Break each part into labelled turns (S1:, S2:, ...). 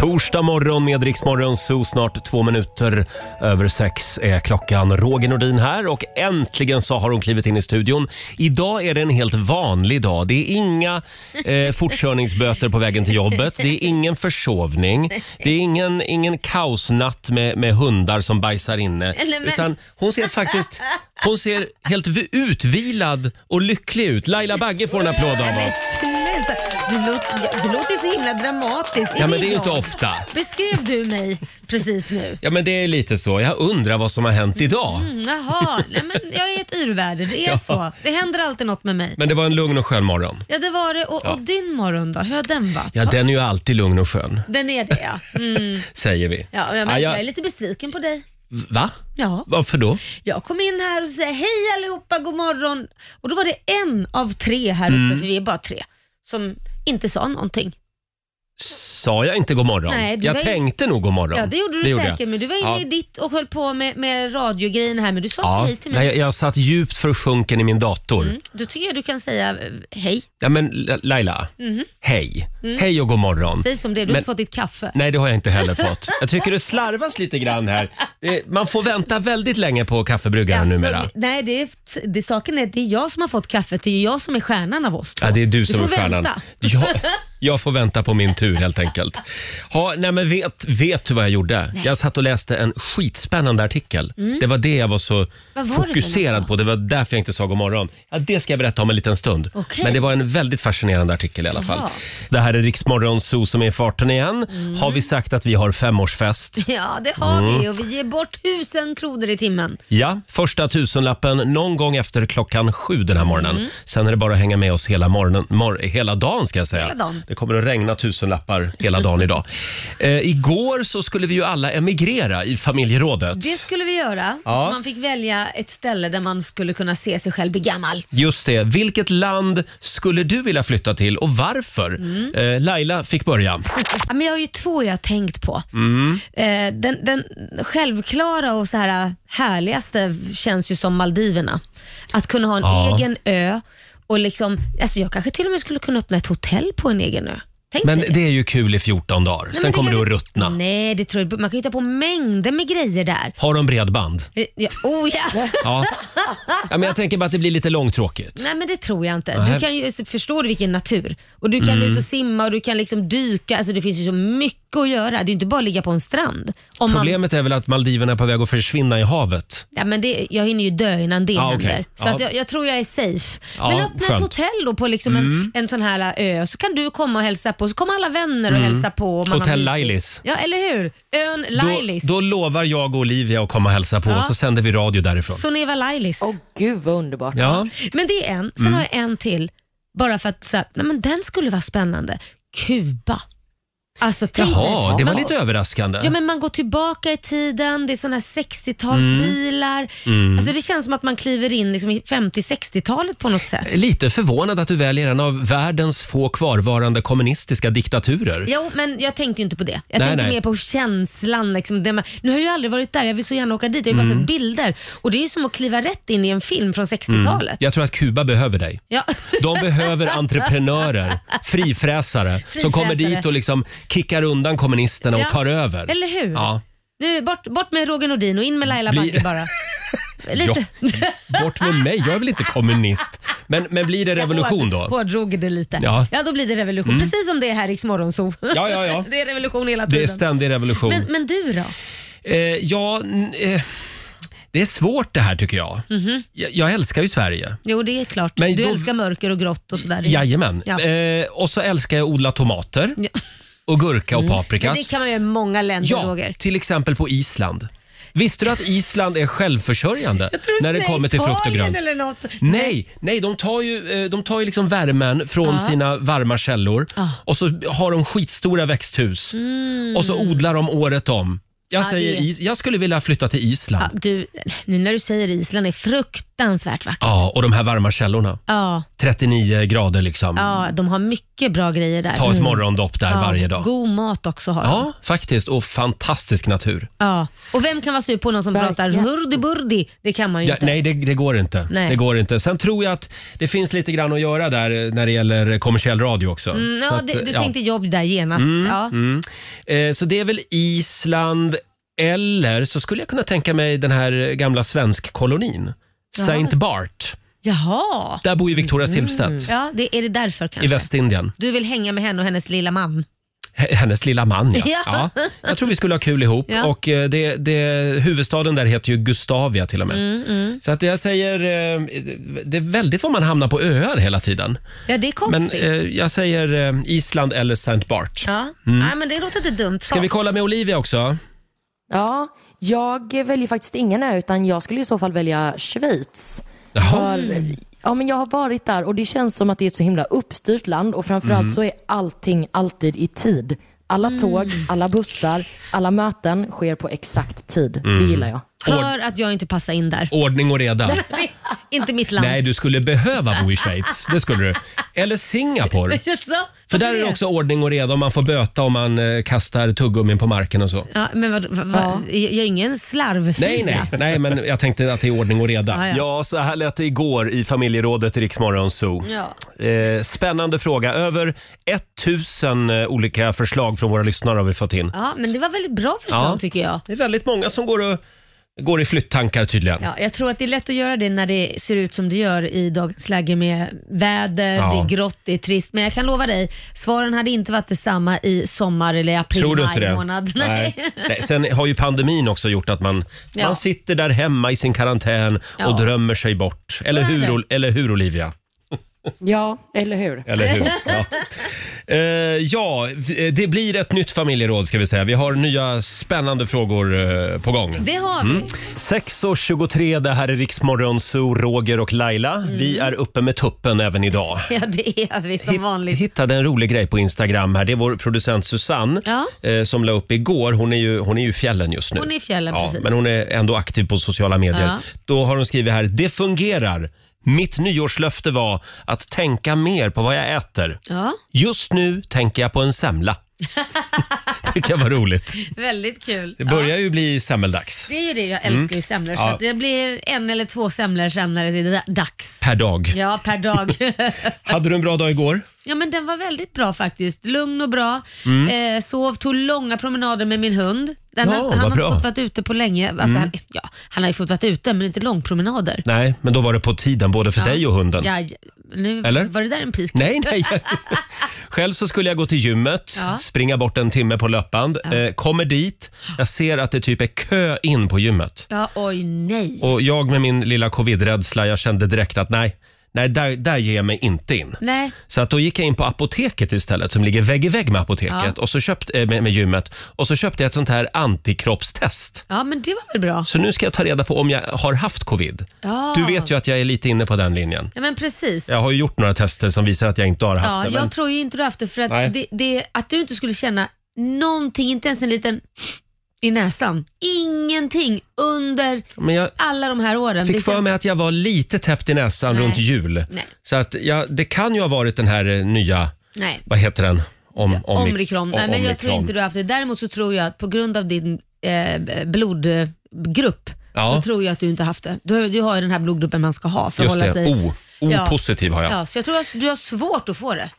S1: Torsdag morgon med Rix Morgon Zoo, snart två minuter över sex är klockan. Roger Nordin här och äntligen så har hon klivit in i studion. Idag är det en helt vanlig dag. Det är inga eh, fortkörningsböter på vägen till jobbet. Det är ingen försovning. Det är ingen, ingen kaosnatt med, med hundar som bajsar inne.
S2: Eller men-
S1: Utan hon ser faktiskt hon ser helt v- utvilad och lycklig ut. Laila Bagge får en applåd av oss.
S2: Sluta. Det låter, det låter ju så himla dramatiskt.
S1: Ja, men
S2: vi
S1: det är ju inte
S2: glada?
S1: ofta.
S2: Beskrev du mig precis nu?
S1: Ja, men det är lite så. Jag undrar vad som har hänt idag.
S2: Mm, jaha, Nej, men jag är ett yrväder. Det är
S1: Ja.
S2: så. Det händer alltid något med mig.
S1: Men det var en lugn och skön morgon.
S2: Ja, det var det. Och, och din morgon då? Hur har den varit?
S1: Ja, den är ju alltid lugn och skön,
S2: Den är det ja. Mm.
S1: säger vi.
S2: ja, men,
S1: Ja, jag-
S2: jag är lite besviken på dig.
S1: Va?
S2: Ja.
S1: Varför då?
S2: Jag kom in här och sa hej allihopa, god morgon. Och då var det en av tre här uppe,
S1: Mm.
S2: för vi är bara tre, som inte sa någonting.
S1: Sa jag inte god morgon?
S2: Nej, du
S1: jag
S2: var ju-
S1: tänkte nog god morgon.
S2: Ja, det gjorde du säkert,
S1: jag.
S2: men du var inne
S1: Ja.
S2: i ditt och höll på med, med radiogrejen här, men du sa inte
S1: Ja,
S2: hej till mig.
S1: nej, jag satt djupt försjunken i min dator.
S2: Mm. Då tycker jag du kan säga eh, hej.
S1: Ja, men La- Laila, hej. Hej och god morgon.
S2: Mhm. Mm. Säg som det är, du har
S1: Men-
S2: inte fått ditt kaffe.
S1: Nej, det har jag inte heller fått. Jag tycker det slarvas lite grann här. Eh, Man får vänta väldigt länge på kaffebryggaren
S2: Alltså,
S1: numera.
S2: nej, det är, det, saken är att det är jag som har fått kaffet. Det är jag som är stjärnan av oss två.
S1: Ja, det är du som
S2: får
S1: är stjärnan.
S2: Vänta.
S1: Jag, jag får vänta på min tur helt enkelt. Ja, nej, men vet, vet du vad jag gjorde? Jag satt och läste en skitspännande artikel. Det var det jag var så
S2: Mm. Vad var det för
S1: fokuserad
S2: något
S1: på. Det var därför jag inte sa god morgon. Ja, det ska jag berätta om en liten stund.
S2: Okej.
S1: Men det var en väldigt fascinerande artikel i alla fall.
S2: Jaha. Mm.
S1: Det här är Riksmorgon Zoo som är i farten igen. Har vi sagt att vi har femårsfest?
S2: Ja, det har
S1: Mm.
S2: vi och vi ger bort tusen kronor i timmen.
S1: Ja, första tusenlappen någon gång efter klockan sju den här morgonen.
S2: Mm.
S1: Sen är det bara att hänga med oss hela, morgonen, mor- hela dagen. ska jag säga.
S2: Hela dagen.
S1: Det kommer att regna tusenlappar hela dagen idag. Eh, igår så skulle vi ju alla emigrera i familjerådet.
S2: Det skulle vi göra.
S1: Ja.
S2: Man fick välja ett ställe där man skulle kunna se sig själv bli gammal.
S1: Just det. Vilket land skulle du vilja flytta till och varför?
S2: Mm.
S1: Eh, Laila fick börja.
S2: Ja, men jag har ju två jag har tänkt på.
S1: Mm.
S2: Eh, Den, den självklara och så här äh, härligaste känns ju som Maldiverna. Att kunna ha en
S1: Ja.
S2: egen ö och liksom, alltså jag kanske till och med skulle kunna öppna ett hotell på en egen ö. Tänk
S1: Men
S2: dig
S1: det är ju kul i 14 dagar.
S2: Nej,
S1: Sen
S2: men
S1: kommer
S2: gör
S1: du att
S2: det-
S1: ruttna.
S2: Nej, det tror jag Man kan hitta på mängder med grejer där.
S1: Har de bredband?
S2: Eh, Ja, oh ja!
S1: Ja. ja men jag tänker bara att det blir lite långtråkigt.
S2: Nej men det tror jag inte.
S1: Nej.
S2: Du kan ju, alltså, förstår du vilken natur? Och Du kan
S1: Mm.
S2: ut och simma och du kan liksom dyka. Alltså det finns ju så mycket att göra. Det är ju inte bara att ligga på en strand. Om man,
S1: Problemet är väl att Maldiverna är på väg att försvinna i havet.
S2: ja, men det, jag hinner ju dö innan det
S1: Ja,
S2: händer.
S1: Ah, okej.
S2: Så
S1: Ja.
S2: att jag, jag tror jag är safe.
S1: Ja,
S2: men öppna
S1: skönt. Mm.
S2: ett hotell då på liksom en, en sån här ö så kan du komma och hälsa på. Så kommer alla vänner och hälsa på. och Man har
S1: Mm. Hotell
S2: mysigt.
S1: Lailis.
S2: Ja eller hur? Ön Lailis.
S1: Då, då lovar jag och Olivia att komma och hälsa på
S2: Ja.
S1: och så sänder vi radio därifrån.
S2: Soneva Lailis.
S3: Åh gud vad underbart.
S1: Ja.
S2: Men det är en. Sen
S1: Mm.
S2: har jag en till. Bara för att så här, nej, men den skulle vara spännande. Kuba. Alltså tänk dig.
S1: Jaha, det var
S3: Ja.
S1: lite överraskande.
S2: Ja, men man går tillbaka i tiden, det är såna här
S1: Mm.
S2: 60-talsbilar. Alltså, det känns som att man kliver in liksom i 50-60-talet på något sätt.
S1: Lite förvånad att du väljer en av världens få kvarvarande kommunistiska diktaturer.
S2: Jo, men jag tänkte ju inte på det. Jag
S1: Nej,
S2: tänkte
S1: nej.
S2: mer på känslan. Liksom, det man, nu har jag ju aldrig varit där, jag vill så gärna åka dit. Jag har ju bara
S1: Mm.
S2: sett bilder. Och Det är ju som att kliva rätt in i en film från 60-talet.
S1: Jag tror att Kuba behöver dig.
S2: Ja.
S1: De behöver entreprenörer, frifräsare, som
S2: Frifräsare.
S1: kommer dit och liksom kickar undan kommunisterna och
S2: Ja.
S1: tar över.
S2: Eller hur?
S1: Ja.
S2: Du, bort, bort med Roger Nordin och in med Laila
S1: Blir-
S2: Bagge bara. Lite.
S1: Ja, bort med mig, jag är väl inte kommunist. Men, men blir det revolution
S2: Hård-
S1: då?
S2: Hårdrog det lite.
S1: Ja. Mm.
S2: Ja. då blir det revolution. Precis som det är här i Morgonzoo.
S1: Ja, ja, ja.
S2: Det är revolution hela
S1: Det är
S2: tiden.
S1: ständig revolution.
S2: men, men du då?
S1: Eh, ja, n- eh, det är svårt det här tycker jag.
S2: Mhm.
S1: jag. Jag älskar ju Sverige.
S2: Jo, det är klart.
S1: Men
S2: du
S1: då-
S2: älskar mörker och grått och sådär.
S1: Jajamän.
S2: Ja.
S1: Eh, och så älskar jag att odla tomater
S2: Ja. Mm.
S1: och gurka och paprika.
S2: Men det kan man göra i många länder,
S1: Ja,
S2: Roger.
S1: till exempel på Island. Visste du att Island är självförsörjande
S2: Jag tror du
S1: när det
S2: säger
S1: kommer till frukt och
S2: Italien
S1: grönt?
S2: Eller något.
S1: Nej, nej, de tar ju, eh, de tar ju liksom värmen från sina varma
S2: Ah.
S1: källor och så har de skitstora växthus och så odlar de året om. Jag,
S2: Mm. Ja,
S1: säger
S2: det-
S1: is, jag skulle vilja flytta till Island.
S2: Ja, du, nu när du säger Island är fruktansvärt vackert.
S1: Ja, och de här varma källorna.
S2: Ja,
S1: 39 grader liksom.
S2: ja, de har mycket bra grejer där.
S1: Ta ett
S2: Mm.
S1: morgondopp där
S2: Ja,
S1: varje dag.
S2: God mat också har de.
S1: Ja, faktiskt. Och fantastisk natur.
S2: Ja. Och vem kan vara sur på någon som pratar
S3: Verkligen.
S2: hurdi-burdi? Det kan man ju
S1: Ja,
S2: inte.
S1: nej, det, det går inte.
S2: Nej.
S1: Det går inte. Sen tror jag att det finns lite grann att göra där eh, när det gäller kommersiell radio också.
S2: Mm,
S1: så
S2: ja,
S1: att, eh,
S2: det, du
S1: ja.
S2: tänkte jobb där genast. ja.
S1: Mm. Eh, så det är väl Island eller så skulle jag kunna tänka mig den här gamla svensk-kolonin.
S2: Jaha.
S1: Saint Bart.
S2: Jaha.
S1: Där bor ju Victoria Silvstedt
S2: Ja, det, är det därför
S1: i
S2: kanske?
S1: Västindien.
S2: Du vill hänga med henne och hennes lilla man?
S1: H- Hennes lilla man, ja. ja.
S2: Ja.
S1: Jag tror vi skulle ha kul ihop.
S2: Ja.
S1: Och eh, det, det, huvudstaden där heter ju Gustavia till och med.
S2: Mm, mm.
S1: Så att jag säger, eh, det är väldigt vad man hamnar på öar hela tiden.
S2: Ja, det är
S1: Men
S2: konstigt.
S1: eh, jag säger eh, Island eller Saint Bart.
S2: ja. Nej, men det låter inte dumt.
S1: mm. Ska vi kolla med Olivia också?
S3: Ja, jag väljer faktiskt ingen ö, utan jag skulle i så fall välja Schweiz.
S1: Jaha.
S3: För, ja, men jag har varit där och det känns som att det är ett så himla uppstyrt land och framförallt så är allting alltid i tid. Alla tåg, alla bussar, alla möten sker på exakt tid. Det gillar jag.
S2: Hör att jag inte passar in där.
S1: Ordning och reda.
S2: inte mitt land.
S1: Nej, du skulle behöva bo i Schweiz. Det skulle du. Eller Singapore.
S2: Jaså?
S1: För där
S2: Varför
S1: är det också ordning och reda och man får böta om man eh, kastar tuggummin på marken och så.
S2: Ja, men vad, vad, vad, Jag är ingen slarvfisa.
S1: Nej, nej, nej, men jag tänkte att det är ordning och reda.
S2: Ja, ja.
S1: så här lät det igår i familjerådet i Riksmorgon Zoo.
S2: Ja.
S1: Eh, spännande fråga. Över 1000 olika förslag från våra lyssnare har vi fått in.
S2: ja, men det var väldigt bra förslag
S1: Ja.
S2: tycker jag.
S1: Det är väldigt många som går, och, går i flytttankar tydligen.
S2: Ja, jag tror att det är lätt att göra det när det ser ut som det gör i dagens läge med väder,
S1: Ja.
S2: det är grått, det är trist. Men jag kan lova dig, svaren hade inte varit detsamma i sommar eller april,
S1: Tror du
S2: maj
S1: inte det?
S2: månad.
S1: Nej. Nej. Sen har ju pandemin också gjort att man,
S2: Ja.
S1: man sitter där hemma i sin karantän och
S2: Ja.
S1: drömmer sig bort. Eller
S2: är
S1: hur,
S2: det.
S1: Ol- eller hur Olivia?
S3: Ja, eller hur?
S1: Eller hur? Ja. Eh, ja, vi- eh, det blir ett nytt familjeråd ska vi säga. Vi har nya spännande frågor eh, på gång.
S2: Det har vi.
S1: Mm. 6.23, det här är Riksmorgon Zoo, Roger och Laila. Vi är uppe med tuppen även idag.
S2: Mm. Ja, det är vi som
S1: Hitt-
S2: vanligt.
S1: hittade en rolig grej på Instagram här. Det är vår producent Susanne
S2: Ja.
S1: eh, som la upp igår. Hon är ju, hon är ju i fjällen just nu.
S2: Hon är i fjällen,
S1: ja,
S2: precis.
S1: Men hon är ändå aktiv på sociala medier.
S2: Ja.
S1: Då har hon skrivit här, det fungerar. Mitt nyårslöfte var att tänka mer på vad jag äter.
S2: Ja,
S1: Just nu tänker jag på en semla. Tycker jag var roligt.
S2: väldigt kul.
S1: Det börjar ju bli semmeldags
S2: Det är ju det, jag älskar ju semlor. Så
S1: Mm. Ja.
S2: att det blir en eller två semlor senare till det är dags.
S1: per dag.
S2: Ja, per dag.
S1: Hade du en bra dag igår?
S2: ja, men den var väldigt bra faktiskt. Lugn och bra. Eh, sov, tog långa promenader med min hund. Den
S1: Mm. Ja,
S2: han
S1: vad
S2: han har
S1: bra. Mm.
S2: inte fått vara ute på länge. Alltså, han, ja, han har ju fått vara ute, men inte långpromenader.
S1: Nej, men då var det på tiden både för
S2: Ja.
S1: dig och hunden.
S2: Ja, j- nu
S1: Eller?
S2: Var det där en pik?
S1: Nej, nej. Själv så skulle jag gå till gymmet,
S2: Ja.
S1: springa bort en timme på löpband. Eh, kommer dit, jag ser att det typ är kö in på gymmet.
S2: Ja, oj nej.
S1: Och jag med min lilla covid-rädsla, jag kände direkt att nej, nej där, där ger jag mig inte in.
S2: Nej.
S1: Så att då gick jag in på apoteket istället som ligger vägg i vägg med apoteket och så köpt, eh, med, med gymmet och så köpte jag ett sånt här antikroppstest.
S2: Ja, men det var väl bra.
S1: Så nu ska jag ta reda på om jag har haft covid.
S2: Ja.
S1: Du vet ju att jag är lite inne på den linjen.
S2: Ja, men precis.
S1: Jag har ju gjort några tester som visar att jag inte har haft
S2: Ja,
S1: det. men-
S2: jag tror ju inte du har haft det för
S1: Nej.
S2: att, det, det, att du inte skulle känna någonting, inte ens en liten i näsan. Ingenting under
S1: men jag,
S2: alla de här åren.
S1: fick
S2: Det
S1: för
S2: känns-
S1: mig att jag var lite täppt i näsan
S2: Nej.
S1: runt jul.
S2: Nej.
S1: Så att jag, det kan ju ha varit den här eh, nya,
S2: Nej,
S1: vad heter den? Om, omik-
S2: omikron. Nej,
S1: om-
S2: men jag tror
S1: omikron.
S2: inte du har haft det. Däremot så tror jag att på grund av din eh, blodgrupp
S1: Ja.
S2: så tror jag att du inte har haft det. Du, du har ju den här blodgruppen man ska ha för att
S1: Just
S2: hålla
S1: det,
S2: sig...
S1: O.
S2: Ja.
S1: O-positiv har jag.
S2: Ja, så jag tror att du har svårt att få det.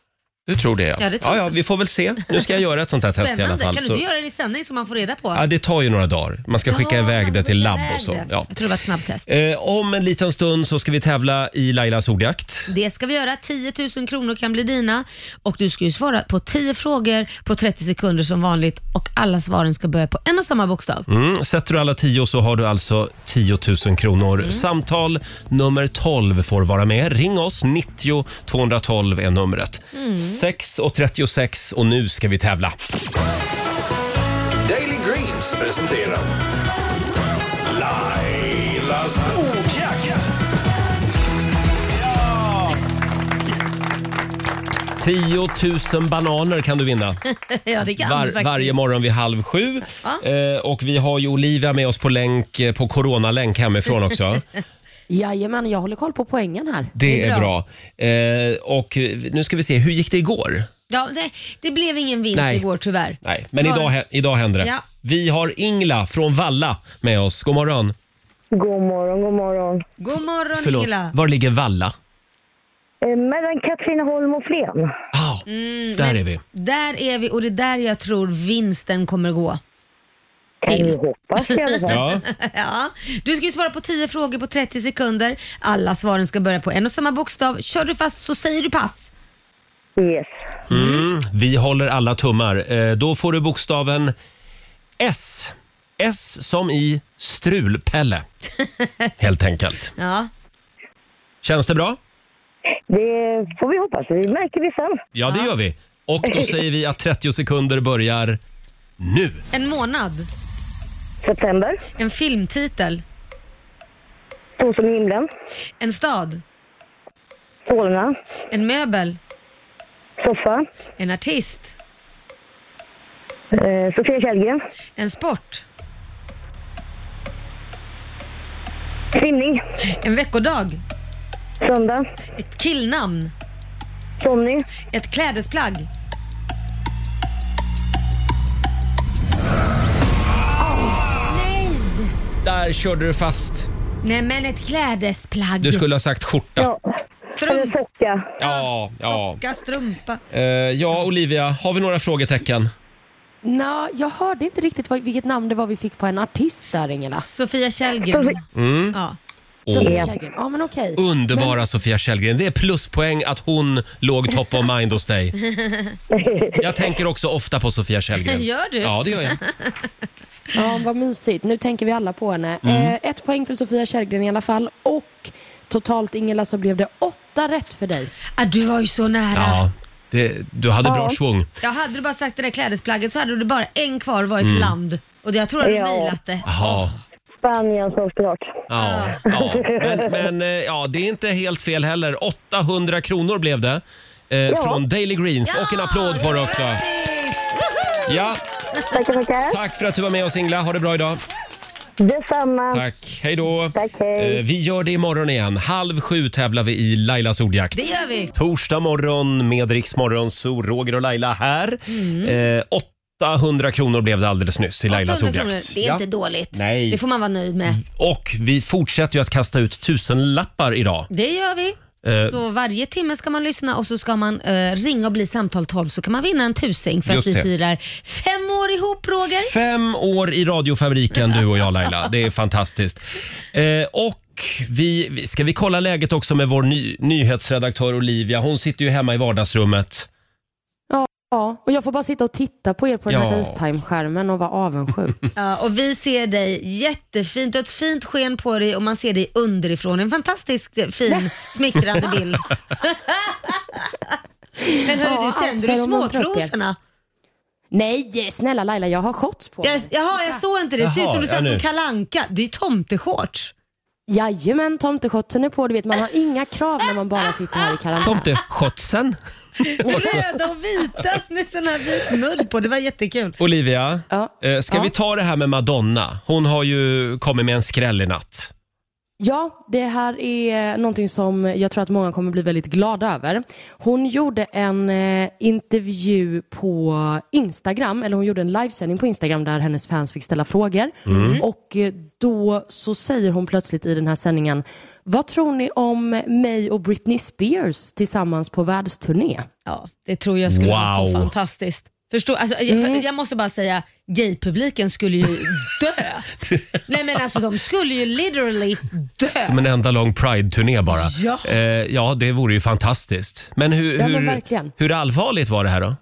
S1: Du tror det ja.
S2: Ja, det tror
S1: ja,
S2: jag.
S1: vi får väl se. Nu ska jag göra ett sånt här test i alla
S2: Spännande.
S1: fall.
S2: Kan du
S1: så-
S2: inte göra det i sändning så man får reda på?
S1: Ja, det tar ju några dagar. Man ska skicka
S2: Ja, alltså,
S1: iväg
S2: man
S1: det
S2: ska
S1: till
S2: skicka
S1: labb
S2: iväg
S1: och så.
S2: det.
S1: Ja.
S2: Jag tror det var ett snabbtest.
S1: Eh, om en liten stund så ska vi tävla i Lailas ordjakt.
S2: Det ska vi göra. 10 000 kronor kan bli dina. Och Du ska ju svara på 10 frågor på 30 sekunder som vanligt och alla svaren ska börja på en och samma bokstav.
S1: Mm, sätter du alla tio så har du alltså 10 000 kronor.
S2: Mm.
S1: Samtal nummer 12 får vara med. Ring oss, 90 212 är numret.
S2: Mm.
S1: 6.36 och nu ska vi tävla.
S4: Daily Greens presenterar Lailas ordjakt.
S1: 10 000 bananer kan du vinna
S2: ja, det kan
S1: var,
S2: faktiskt.
S1: varje morgon vid halv sju.
S2: Ja.
S1: Eh, och vi har ju Olivia med oss på länk, eh, på coronalänk hemifrån också.
S3: Jajamän, jag håller koll på poängen här.
S1: Det
S2: Det är
S1: är bra. Eh, och eh, nu ska vi se, hur gick det igår?
S2: Ja, det, det blev ingen vinst
S1: Nej.
S2: igår tyvärr.
S1: Nej, men
S2: Var-
S1: idag, hä- idag händer det.
S2: Ja.
S1: Vi har Ingla från Valla med oss. God morgon.
S5: God morgon, god morgon.
S2: God morgon
S1: Förlåt,
S2: Ingela.
S1: var ligger Valla?
S5: Eh, mellan Katrineholm och Flen.
S1: Ah,
S2: Mm,
S1: där är vi.
S2: Där är vi och det är där jag tror vinsten kommer gå.
S5: Kan
S2: Till.
S5: vi hoppas i alla fall.
S1: Ja.
S2: Ja. Du ska ju svara på 10 frågor på 30 sekunder. Alla svaren ska börja på en och samma bokstav. Kör du fast så säger du pass.
S5: Yes.
S1: Mm, vi håller alla tummar. Eh, då får du bokstaven S. S som i strulpelle. Helt enkelt.
S2: Ja.
S1: Känns det bra?
S5: Det får vi hoppas. Vi märker vi sen.
S1: Ja, det gör vi. Och då säger vi att 30 sekunder börjar nu.
S2: En månad.
S5: September.
S2: En filmtitel.
S5: Så som i himlen.
S2: En stad.
S5: Solna.
S2: En möbel.
S5: Soffa.
S2: En artist.
S5: Eh, Sofia Källgren.
S2: En sport.
S5: Simning.
S2: En veckodag.
S5: Söndag.
S2: Ett killnamn.
S5: Sonny.
S2: Ett klädesplagg. Nej!
S1: Där körde du fast.
S2: Nej men ett klädesplagg.
S1: Du skulle ha sagt skjorta.
S5: Ja. Eller
S2: Strumpa,
S5: Socka.
S1: Ja, ja.
S2: socka, strumpa.
S1: Eh, ja, Olivia, har vi några frågetecken?
S3: Nå, jag hörde inte riktigt vad, vilket namn det var vi fick på en artist där, Ingela.
S2: Sofia Källgren.
S1: Mm.
S2: Ja.
S3: Sofia Källgren. Ja, men okej.
S1: Underbara Sofia Källgren. Det är pluspoäng att hon låg top of mind hos dig. Jag tänker också ofta på Sofia Källgren.
S2: Gör du?
S1: Ja, det gör jag.
S3: Ja, vad mysigt. Nu tänker vi alla på henne. Eh, ett poäng för Sofia Källgren i alla fall. Och totalt, Ingela, så blev det åtta rätt för dig.
S2: Ah, du var ju så nära.
S1: Ja, det, du hade bra svung.
S2: Ja, hade du bara sagt det där klädesplagget så hade du bara en kvar varit
S1: Mm.
S2: land. Och jag tror att du
S5: Ja.
S2: nailat det.
S1: Jaha.
S5: Spanien såklart.
S1: Ja, ja. Men, men eh, ja, det är inte helt fel heller. 800 kronor blev det. Eh, Från Daily Greens. Och en applåd får du också.
S2: Grattis! Woho!
S1: Ja,
S5: Tackar, tackar.
S1: tack för att du var med oss Ingla. Ha det bra idag.
S5: Detsamma.
S1: Tack. Hej då.
S5: Tack, hej.
S1: Eh, Vi gör det imorgon igen. Halv sju tävlar vi i Lailas ordjakt.
S2: Det gör vi.
S1: Torsdag morgon med Rix Morgon, så Roger och Laila här.
S2: Mm.
S1: Eh, 800 kronor blev det alldeles nyss i Lailas
S2: 800 kronor.
S1: ordjakt.
S2: Det är
S1: Ja.
S2: inte dåligt.
S1: Nej. Mm.
S2: Det får man vara nöjd med.
S1: Och vi fortsätter ju att kasta ut tusenlappar idag.
S2: Det gör vi.
S1: Eh.
S2: Så varje timme ska man lyssna och så ska man eh, ringa och bli samtal 12 så kan man vinna en tusing för
S1: Just
S2: att vi
S1: det.
S2: firar fem år ihop Roger.
S1: Fem år i radiofabriken du och jag Laila. Det är fantastiskt. Eh, och vi, vi- ska vi kolla läget också med vår ny, nyhetsredaktör Olivia? Hon sitter ju hemma i vardagsrummet.
S3: Ja, och jag får bara sitta och titta på er på den här
S1: Ja.
S3: Facetime-skärmen och vara avundsjuk.
S2: Ja, och vi ser dig jättefint och ett fint sken på dig och man ser dig underifrån. En fantastisk eh, fin smickrande bild. Men hörru
S3: Ja,
S2: du,
S3: allt
S2: sänder
S3: för
S2: du
S3: att muntra upp er.
S2: småtrosorna?
S3: Nej, snälla Laila, jag har shorts på mig.
S2: Jag, jaha, jag såg inte det. Det ser ut som du
S1: Jaha, ja,
S2: satt som
S1: nu.
S2: kalanka. Det är tomteshorts.
S3: Jajamän, tomteshortsen är på. Du vet, man har inga krav när man bara sitter här i karantän.
S1: Tomteskjutsen.
S2: Röda och vita med sån här vit mudd på. Det var jättekul.
S1: Olivia,
S3: Ja.
S1: eh, ska
S3: Ja.
S1: vi ta det här med Madonna? Hon har ju kommit med en skräll i natt.
S3: Ja, det här är någonting som jag tror att många kommer bli väldigt glada över. Hon gjorde en eh, intervju på Instagram, eller hon gjorde en livesändning på Instagram där hennes fans fick ställa frågor. Och eh, då så säger hon plötsligt i den här sändningen, vad tror ni om mig och Britney Spears tillsammans på världsturné?
S2: Ja, det tror jag skulle vara så
S1: Wow.
S2: fantastiskt. Förstå, alltså, jag, jag måste bara säga, gaypubliken skulle ju dö. Nej men alltså de skulle ju literally
S1: Som
S2: dö.
S1: en enda lång Pride-turné bara.
S2: Ja.
S1: Eh, ja, det vore ju fantastiskt. Men hur,
S3: Ja, men
S1: hur,
S3: verkligen.
S1: hur allvarligt var det här då?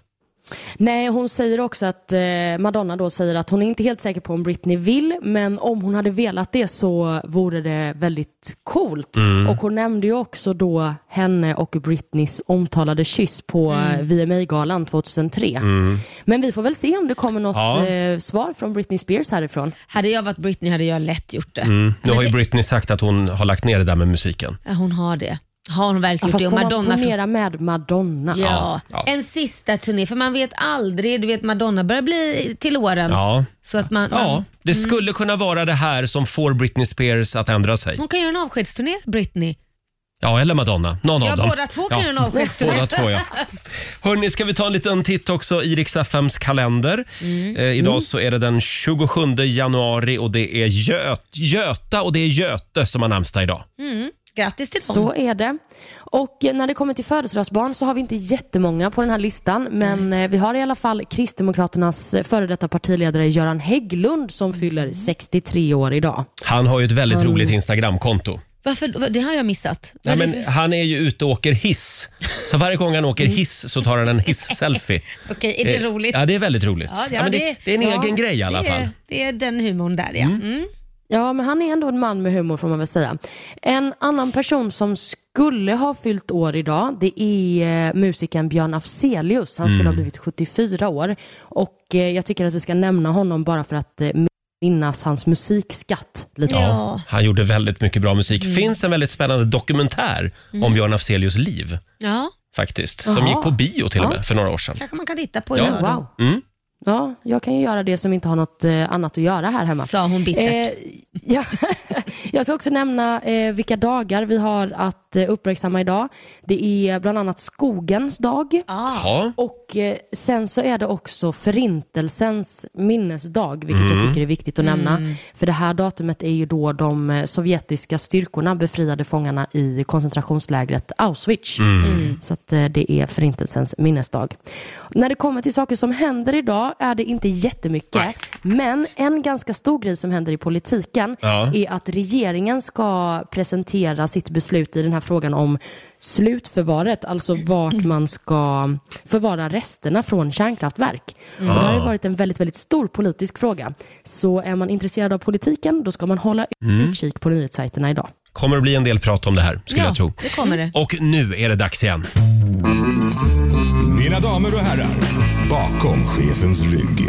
S3: Nej, hon säger också att eh, Madonna då säger att hon är inte helt säker på om Britney vill, men om hon hade velat det så vore det väldigt coolt. Och hon nämnde ju också då henne och Britneys omtalade kyss på mm. VMA-galan 2003. Men vi får väl se om det kommer något
S1: Ja.
S3: eh, svar från Britney Spears härifrån.
S2: Hade jag varit
S1: Mm.
S2: Britney hade jag lätt gjort det.
S3: Mm.
S1: Nu har ju Britney sagt att hon har lagt ner det där med musiken.
S2: Ja, hon har det. Har hon verkligen gjort
S3: Fast
S2: det?
S3: får
S2: Och
S3: man
S2: Madonna
S3: turnera med Madonna?
S2: Ja,
S1: Ja.
S2: en sista turné, för man vet aldrig. Du vet, Madonna börjar bli till åren.
S1: Ja.
S2: Så att man,
S1: Ja,
S2: man,
S1: det skulle kunna vara det här som får Britney Spears att ändra sig.
S2: hon kan göra en avskedsturné, Britney.
S1: Ja, eller Madonna. Någon
S2: Ja,
S1: av dem.
S2: båda två kan
S1: Ja,
S2: göra en avskedsturné.
S1: Båda två, ja. Hörni, ska vi ta en liten titt också i Rix FMs kalender.
S2: Mm.
S1: Eh, idag så är det den 27 januari och det är Göt, Göta och det är Göte som har namnsdag idag.
S2: Grattis till dem.
S3: Så är det. Och eh, när det kommer till födelsedagsbarn så har vi inte jättemånga på den här listan, men eh, vi har i alla fall Kristdemokraternas eh, före detta partiledare Göran Hägglund som fyller 63 år idag.
S1: Han har ju ett väldigt
S2: Mm.
S1: roligt Instagramkonto.
S2: Varför? Det har jag missat.
S1: Nej,
S2: Vad är det
S1: men han är ju ute och åker hiss. Så varje gång han åker hiss så tar han en hiss-selfie.
S2: för- Okej, är det
S1: Eh,
S2: roligt?
S1: Ja, det är väldigt roligt.
S2: Ja, ja,
S1: men det,
S2: det-
S1: det är en
S2: ja,
S1: egen grej i alla
S2: det,
S1: fall.
S2: är, det är den humorn där ja. Mm.
S3: Ja, men han är ändå en man med humor får man väl säga. En annan person som skulle ha fyllt år idag, det är eh, musikern Björn Afzelius. Han skulle ha blivit 74 år. Och eh, jag tycker att vi ska nämna honom bara för att eh, minnas hans musikskatt lite.
S1: Ja, han gjorde väldigt mycket bra musik.
S2: Mm.
S1: finns en väldigt spännande dokumentär om Björn Afzelius liv.
S2: ja,
S1: faktiskt. Som
S3: Jaha.
S1: gick på bio till och
S3: Ja.
S1: med för några år sedan. Mm.
S2: kanske man kan titta på
S1: Ja,
S2: idag. då.
S3: Wow. Ja, jag kan ju göra det som inte har något eh, annat att göra här hemma.
S2: Sa hon bittert.
S3: Eh, ja. Jag ska också nämna eh, vilka dagar vi har att eh, uppmärksamma idag. Det är bland annat skogens dag.
S2: Ah.
S1: Ja.
S3: Och eh, sen så är det också förintelsens minnesdag, vilket jag tycker är viktigt att nämna. För det här datumet är ju då de eh, sovjetiska styrkorna befriade fångarna i koncentrationslägret Auschwitz. Så att eh, det är förintelsens minnesdag. När det kommer till saker som händer idag är det inte jättemycket. Men en ganska stor grej som händer i politiken
S1: Ja.
S3: är att regeringen ska presentera sitt beslut i den här frågan om slutförvaret, alltså vart man ska förvara resterna från kärnkraftverk.
S1: Mm.
S3: Och det har ju varit en väldigt, väldigt stor politisk fråga. Så är man intresserad av politiken, då ska man hålla
S1: Mm.
S3: utkik på nyhetssajterna idag.
S1: Kommer det bli en del prat om det här, skulle
S2: Ja,
S1: jag tro.
S2: det kommer det.
S1: Och nu är det dags igen.
S4: Mina damer och herrar, bakom chefens rygg.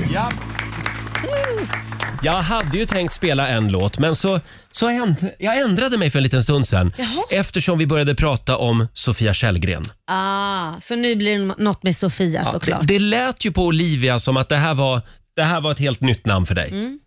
S1: Jag hade ju tänkt spela en låt, men så, så änd- jag ändrade mig för en liten stund sen.
S2: Jaha.
S1: Eftersom vi började prata om Sofia Källgren.
S2: Ah, så nu blir det något med Sofia
S1: det,
S2: såklart.
S1: det lät ju på Olivia som att det här var, det här var ett helt nytt namn för dig.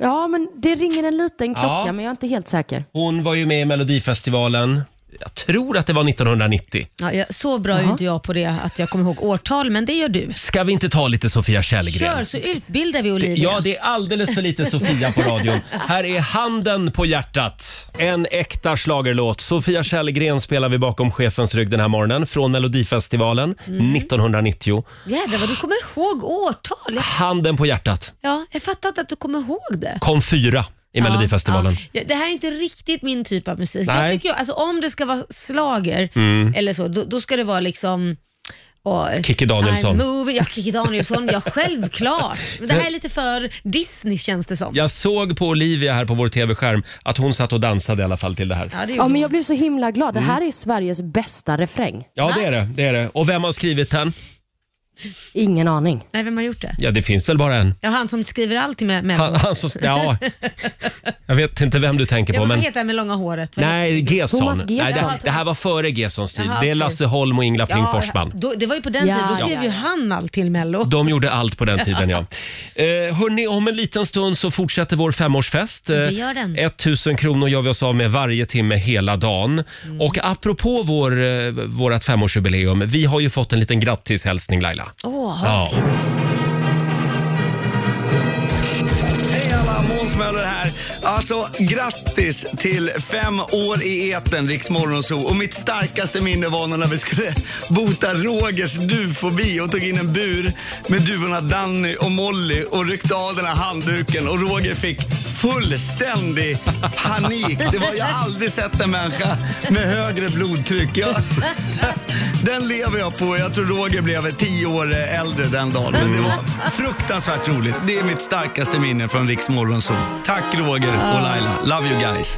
S3: Ja, men det ringer en liten klocka,
S1: Ja.
S3: men jag är inte helt säker.
S1: Hon var ju med i Melodifestivalen. Jag tror att det var 1990.
S2: ja, jag, så bra är ju inte jag på det att jag kommer ihåg årtal, men det gör du.
S1: Ska vi inte ta lite Sofia Källgren?
S2: Kör så utbildar vi Olivia.
S1: Ja, det är alldeles för lite Sofia på radion. Här är handen på hjärtat. En äkta schlagerlåt. Sofia Källgren spelar vi bakom chefens rygg den här morgonen från Melodifestivalen
S2: Mm.
S1: 1990.
S2: Jädrar vad du kommer ihåg årtal.
S1: Handen på hjärtat.
S2: Ja, jag fattar inte att du kommer ihåg det.
S1: Kom fyra i Melodifestivalen.
S2: Ja, ja. Det här är inte riktigt min typ av musik.
S1: Nej. Mm.
S2: Jag tycker, ju- alltså, om det ska vara slager eller så, då, då ska det vara liksom åh,
S1: Kikki Danielsson.
S2: I'm moving, ja, Kikki Danielsson, ja självklart. Men det här är lite för Disney känns det som.
S1: Jag såg på Olivia här på vår tv-skärm att hon satt och dansade i alla fall till det här.
S2: Ja, det gjorde
S3: Ja, men
S2: hon.
S3: jag blev så himla glad.
S1: Mm.
S3: Det här är Sveriges bästa refräng.
S1: Ja, det är det. det, är det. Och vem har skrivit den?
S3: Ingen aning.
S2: Nej, vem har gjort det?
S1: Ja, det finns väl bara en.
S2: Ja, han som skriver alltid med, med
S1: Han, han som, ja. Jag vet inte vem du tänker
S2: ja,
S1: på,
S2: men... Vad
S1: men...
S2: heter han med långa håret? Vad heter-
S1: Nej, Gesson.
S3: Thomas
S1: Nej,
S3: Gesson.
S1: det,
S2: Jaha,
S1: det här var före Gessons tid.
S2: Jaha,
S1: det är
S2: okej.
S1: Lasse Holm och Ingela Pling
S2: ja,
S1: Forsman.
S2: då, det var ju på den
S3: Ja,
S2: tiden, då
S3: ja,
S2: skrev ju
S3: ja.
S2: han allt till Mello.
S1: De gjorde allt på den tiden, ja. Eh, hörni, om en liten stund så fortsätter vår femårsfest. Eh,
S2: Det gör den.
S1: 1000 kronor gör vi oss av med varje timme hela dagen.
S2: Mm.
S1: Och apropå vår, eh, vårat femårsjubileum, vi har ju fått en liten grattishälsning Laila.
S2: Åh,
S1: Ja.
S6: Hej alla, Måns Möller här. Alltså, grattis till fem år i etern, Rix Morgonzoo. Och mitt starkaste minne var när vi skulle bota Rogers duvfobi och tog in en bur med duvorna Danny och Molly och ryckte av den här handduken och Roger fick fullständig panik. Det var, jag har aldrig sett en människa med högre blodtryck. Jag, den lever jag på. Jag tror Roger blev tio år äldre den dagen. Men det var fruktansvärt roligt. Det är mitt starkaste
S7: Ah.
S6: minne från Riks Morgonzoo. Tack Roger och Laila. Love you guys.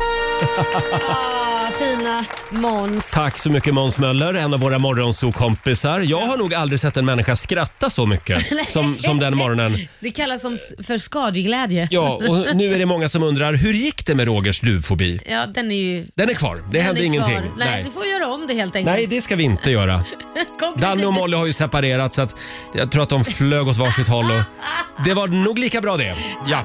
S2: Åh, fina Måns.
S1: Tack så mycket Måns Möller, en av våra morgonsokompisar. Jag har nog aldrig sett en människa skratta så mycket som, som den morgonen.
S2: Det kallas som s- för skadeglädje.
S1: Ja, och nu är det många som undrar, hur gick det med Rogers duvfobi?
S2: Ja, den är ju...
S1: Den är kvar, det
S2: den
S1: hände
S2: är kvar.
S1: ingenting.
S2: Nej, vi får göra om det helt enkelt.
S1: Nej, det ska vi inte göra.
S2: Kom,
S1: Danny och Molly har ju separerat så att jag tror att de flög åt varsitt håll. Och det var nog lika bra det. Ja.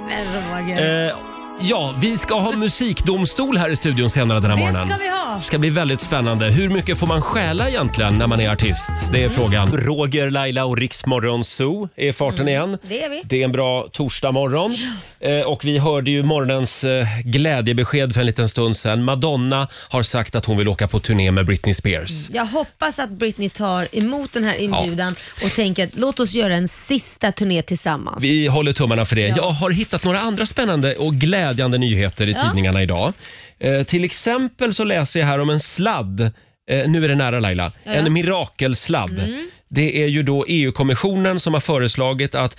S2: Men Roger.
S1: Eh, ja, vi ska ha musikdomstol här i studion senare den här
S2: Det
S1: morgonen.
S2: ska vi ha.
S1: ska bli väldigt spännande. Hur mycket får man stjäla egentligen när man är artist? Det
S2: Mm.
S1: är frågan. Roger, Laila och Riksmorgon Zoo är i farten igen.
S2: Mm. det är vi.
S1: Det är en bra torsdagmorgon. Eh, och vi hörde ju morgonens eh, glädjebesked för en liten stund sedan. Madonna har sagt att hon vill åka på turné med Britney Spears.
S2: Jag hoppas att Britney tar emot den här inbjudan och tänker att låt oss göra en sista turné tillsammans.
S1: Vi håller tummarna för det. Jag har hittat några andra spännande och glädjande nyheter i tidningarna idag. Eh, till exempel så läser jag här om en sladd. Eh, nu är det nära Laila. En mirakelsladd.
S2: Mm.
S1: Det är ju då EU-kommissionen som har föreslagit att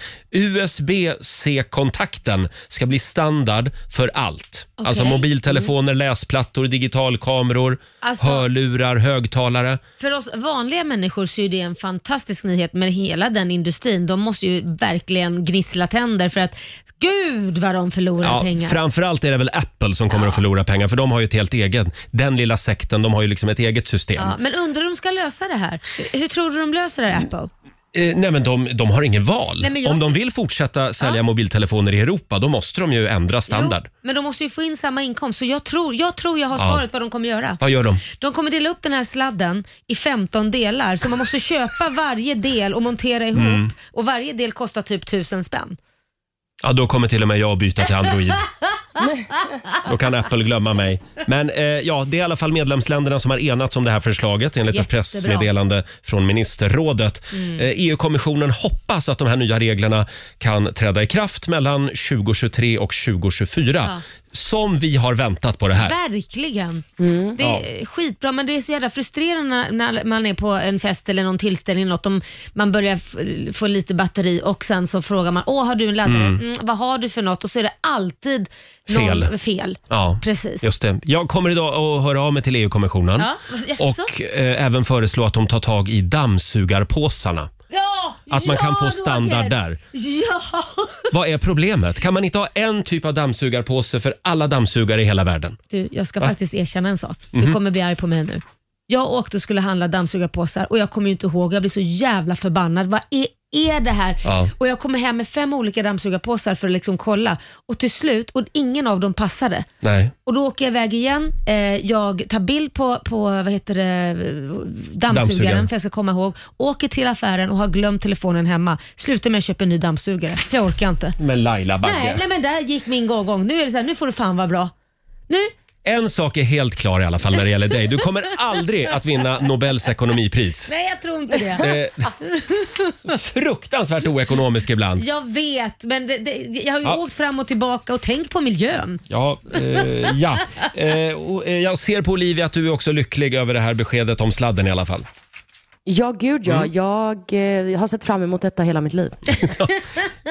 S1: USB-C-kontakten ska bli standard för allt.
S2: Okej. Mm.
S1: Alltså mobiltelefoner, läsplattor, digitalkameror,
S2: Alltså-
S1: hörlurar, högtalare.
S2: För oss vanliga människor så är det en fantastisk nyhet men hela den industrin. De måste ju verkligen gnissla tänder för att gud vad de förlorar
S1: Ja,
S2: pengar.
S1: framförallt är det väl Apple som kommer att förlora pengar för de har ju ett helt eget. Den lilla sekten, de har ju liksom ett eget system.
S2: Ja, men undrar hur de ska lösa det här. Hur, hur tror du de löser det här Apple?
S1: Eh, nej men de, de har ingen val.
S2: Nej, men jag-
S1: Om de vill fortsätta sälja mobiltelefoner i Europa då måste de ju ändra standard.
S2: Jo, men de måste ju få in samma inkomst så jag tror jag, tror jag har svaret vad de kommer göra.
S1: Vad gör de?
S2: De kommer dela upp den här sladden i 15 delar så man måste köpa varje del och montera ihop
S1: Mm.
S2: och varje del kostar typ 1000 spänn.
S1: Ja, då kommer till och med jag att byta till Android. då kan Apple glömma mig. Men eh, ja, det är i alla fall medlemsländerna som har enats om det här förslaget enligt
S2: Jättebra. Mm.
S1: ett pressmeddelande från ministerrådet. Eh, EU-kommissionen hoppas att de här nya reglerna kan träda i kraft mellan 2023 och 2024.
S2: Ja.
S1: Som vi har väntat på det här.
S2: Verkligen. Det är skitbra, men det är så jävla frustrerande när- när man är på en fest eller någon tillställning, eller något, om man börjar f- få lite batteri och sen så frågar man, åh har du en laddare? Mm. vad har du för något? Och så är det alltid någon
S1: Fel.
S2: fel.
S1: Ja,
S2: Precis.
S1: Just det. Jag kommer idag att höra av mig till EU-kommissionen
S2: Ja, jaså?
S1: och eh, även föreslå att de tar tag i dammsugarpåsarna.
S2: Ja,
S1: Att man
S2: ja,
S1: kan få
S2: Roger!
S1: standard där.
S2: Ja!
S1: Vad är problemet? Kan man inte ha en typ av dammsugarpåse för alla dammsugare i hela världen?
S2: Du, jag ska faktiskt erkänna en sak. Du
S1: Mhm.
S2: kommer bli arg på mig nu. Jag åkte och skulle handla dammsugarpåsar och jag kommer ju inte ihåg. Jag blir så jävla förbannad. Vad är, är det här?
S1: Ja.
S2: Och Jag kommer hem med fem olika dammsugarpåsar för att liksom kolla och till slut, och ingen av dem passade.
S1: Nej.
S2: Och Då åker jag iväg igen. Eh, jag tar bild på, på vad heter det, dammsugaren,
S1: Dammsugaren.
S2: för jag ska komma ihåg. Åker till affären och har glömt telefonen hemma. Slutar med att köpa en ny dammsugare, för jag orkar inte.
S1: Men Laila Bagge.
S2: Nej, nej, men där gick min gång. Nu är det så här, nu får du fan vara bra. Nu
S1: En sak är helt klar i alla fall när det gäller dig. Du kommer aldrig att vinna Nobels ekonomipris.
S2: Nej, jag tror inte det.
S1: Eh, fruktansvärt oekonomisk ibland.
S2: Jag vet, men det, det, jag har ju
S1: Ja.
S2: åkt fram och tillbaka och tänkt på miljön.
S1: Ja, eh, ja. Eh, och, eh, jag ser på Olivia att du är också lycklig över det här beskedet om sladden i alla fall.
S3: Ja, gud ja.
S1: Mm.
S3: Jag eh, har sett fram emot detta hela mitt liv.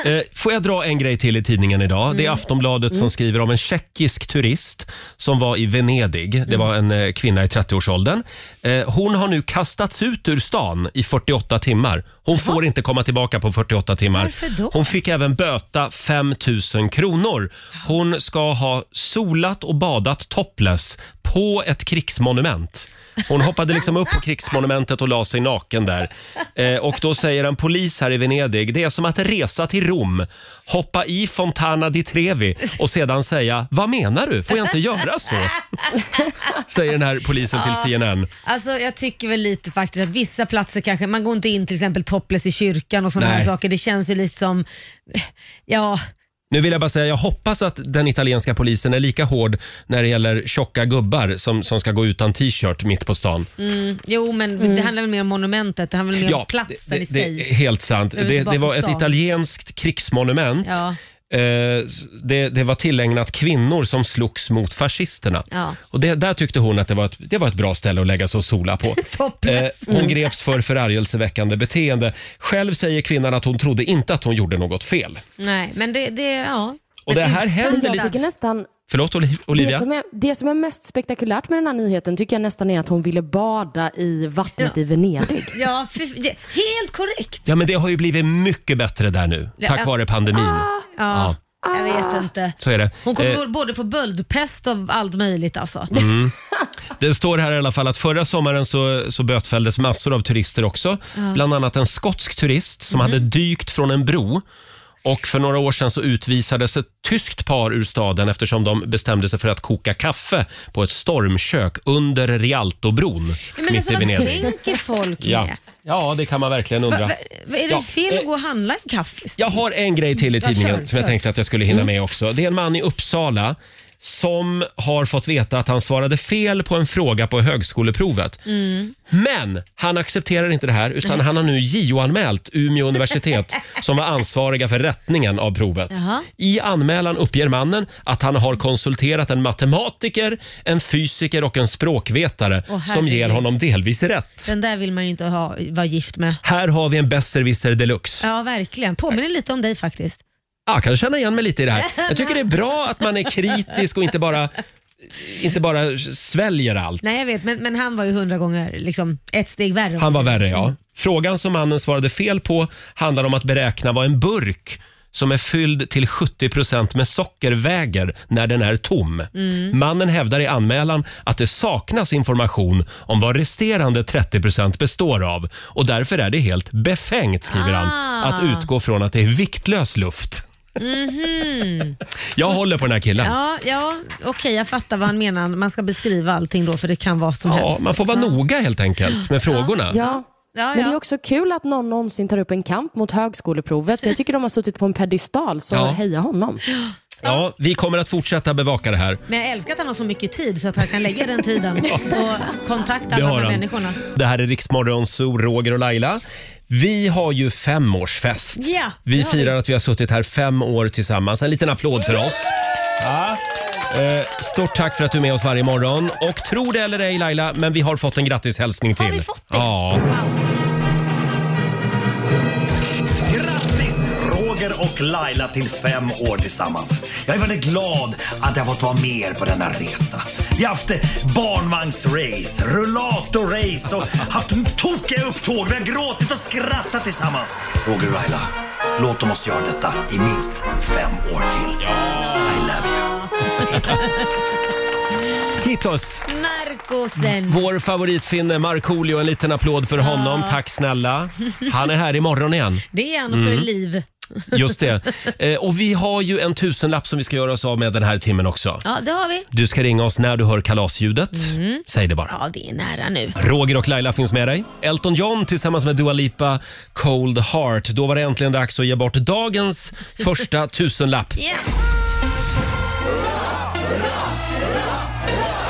S1: Eh, får jag dra en grej till i tidningen idag? Det
S2: Mm.
S1: är Aftonbladet som skriver om en tjeckisk turist som var i Venedig.
S2: Mm.
S1: Det var en eh, kvinna i 30-årsåldern. Eh, hon har nu kastats ut ur stan i 48 timmar. Hon får inte komma tillbaka på 48 timmar.
S2: Varför då?
S1: Hon fick även böta 5 000 kronor. Hon ska ha solat och badat topless på ett krigsmonument. Hon hoppade liksom upp på krigsmonumentet och la sig naken där. Eh, och då säger en polis här i Venedig, det är som att resa till Rom, hoppa i Fontana di Trevi och sedan säga, vad menar du? Får jag inte göra så? Säger den här polisen till CNN.
S2: Alltså jag tycker väl lite faktiskt att vissa platser kanske, man går inte in till exempel topless i kyrkan och sådana
S1: Nej.
S2: här saker. Det känns ju lite som, ja,
S1: Nu vill jag bara säga, jag hoppas att den italienska polisen är lika hård när det gäller tjocka gubbar som, som ska gå utan t-shirt mitt på stan.
S2: Mm, jo men det handlar väl mer om monumentet, det handlar väl mer om platsen
S1: det,
S2: i
S1: det,
S2: sig.
S1: det eh, är helt sant.
S2: Behöver
S1: Det,
S2: inte
S1: det var
S2: bara på
S1: ett
S2: stan.
S1: italienskt krigsmonument.
S2: Ja.
S1: Eh, s- Det, det var tillägnat kvinnor som slogs mot fascisterna.
S2: Ja.
S1: Och det, där tyckte hon att det var, ett, det var ett bra ställe att lägga sig och sola på.
S2: Topless.
S1: Eh, hon greps för förargelseväckande beteende. Själv säger kvinnan att hon trodde inte att hon gjorde något fel.
S2: Nej, men det, det ja.
S1: Och
S2: Men
S1: det här
S2: utkastad.
S1: händer
S3: Jag tycker nästan
S1: Förlåt Oli-
S3: Det
S1: Olivia?
S3: som, är, det som är mest spektakulärt med den här nyheten tycker jag nästan är att hon ville bada i vattnet i Venedig.
S2: Ja, för, det, helt korrekt.
S1: Ja, men det har ju blivit mycket bättre där nu,
S2: Ja,
S1: tack
S2: ja.
S1: vare pandemin.
S2: Ja, Jag vet inte.
S1: Så är det.
S2: Hon kommer
S1: Eh,
S2: eh. både få böldpest och allt möjligt alltså.
S1: Det står här i alla fall att förra sommaren så, så bötfälldes massor av turister också. Bland annat en skotsk turist
S2: Mhm.
S1: som hade dykt från en bro. Och för några år sedan så utvisades ett tyskt par ur staden eftersom de bestämde sig för att koka kaffe på ett stormkök under Rialtobron
S2: Ja, Men
S1: mitt
S2: alltså,
S1: i
S2: vad
S1: Venedig.
S2: tänker folk
S1: Ja.
S2: med?
S1: ja, det kan man verkligen
S2: Va,
S1: undra.
S2: va, va, är det
S1: Ja,
S2: fel
S1: eh,
S2: att gå och handla en kaffe? istället?
S1: Jag har en grej till i tidningen
S2: kör,
S1: som jag
S2: kör. Mm.
S1: tänkte att jag skulle hinna med också. Det är en man i Uppsala som har fått veta att han svarade fel på en fråga på högskoleprovet.
S2: Mm.
S1: Men han accepterar inte det här utan han har nu JO-anmält Umeå universitet som var ansvariga för rättningen av provet.
S2: Jaha.
S1: I anmälan uppger mannen att han har konsulterat en matematiker, en fysiker och en språkvetare
S2: Åh,
S1: som ger
S2: herregud.
S1: honom delvis rätt.
S2: Den där vill man ju inte ha, vara gift med.
S1: Här har vi en besserwisser deluxe.
S2: Ja, verkligen. Påminner lite om dig faktiskt.
S1: Ja, jag kan känna igen mig lite i det här. Jag tycker det är bra att man är kritisk och inte bara, inte bara sväljer allt.
S2: Nej, jag vet, men, men han var ju hundra gånger liksom, ett steg värre. om
S1: Han var
S2: man säger.
S1: värre, ja. Frågan som mannen svarade fel på handlar om att beräkna vad en burk som är fylld till 70 med socker väger när den är tom. Mannen hävdar i anmälan att det saknas information om vad resterande 30 består av och därför är det helt befängt, skriver han,
S2: Ah.
S1: att utgå från att det är viktlös luft. Jag håller på den här killen.
S2: Ja, ja okej, jag fattar vad han menar. Man ska beskriva allting då, för det kan vara som
S1: Ja,
S2: helst.
S1: man får vara noga helt enkelt med frågorna.
S3: Ja.
S2: Ja,
S3: Men det är
S2: ja.
S3: också kul att någon någonsin tar upp en kamp mot högskoleprovet. För jag tycker de har suttit på en pedestal, så
S1: Ja.
S3: heja honom.
S1: Ja, vi kommer att fortsätta bevaka det här.
S2: Men jag älskar att han har så mycket tid så att han kan lägga den tiden och kontakta
S1: Det
S2: alla
S1: har
S2: de här
S1: han.
S2: människorna.
S1: Det här är Riksmorgon Zoo, Roger och Laila. Vi har ju femårsfest.
S2: Ja,
S1: vi
S2: det har vi.
S1: firar att vi har suttit här fem år tillsammans. En liten applåd för oss. Ja. Eh, stort tack för att du är med oss varje morgon. Och tro det eller ej Laila, men vi har fått en grattishälsning till.
S2: Har vi fått det?
S1: Ja.
S8: Grattis Roger och Laila till fem år tillsammans. Jag är väldigt glad att jag fått vara med er på denna resa. Vi har haft eh, barnvagnsrace, rullatorrace och haft tokiga upptåg. Vi har gråtit och skrattat tillsammans. Roger och Laila, låt dem oss göra detta i minst fem år till. I love you.
S1: Titos,
S2: Narkosen.
S1: vår favoritfinne Markoolio, en liten applåd för honom. Tack snälla. Han är här imorgon igen.
S2: Det är han och för
S1: Mm.
S2: liv.
S1: Just det. Eh, och vi har ju en tusenlapp som vi ska göra oss av med den här timmen också.
S2: Ja, det har vi.
S1: Du ska ringa oss när du hör kalasljudet. Säg det bara.
S2: Ja, det är nära nu.
S1: Roger och Laila finns med dig. Elton John tillsammans med Dua Lipa, Cold Heart. Då var det äntligen dags att ge bort dagens första tusenlapp.
S2: Ja.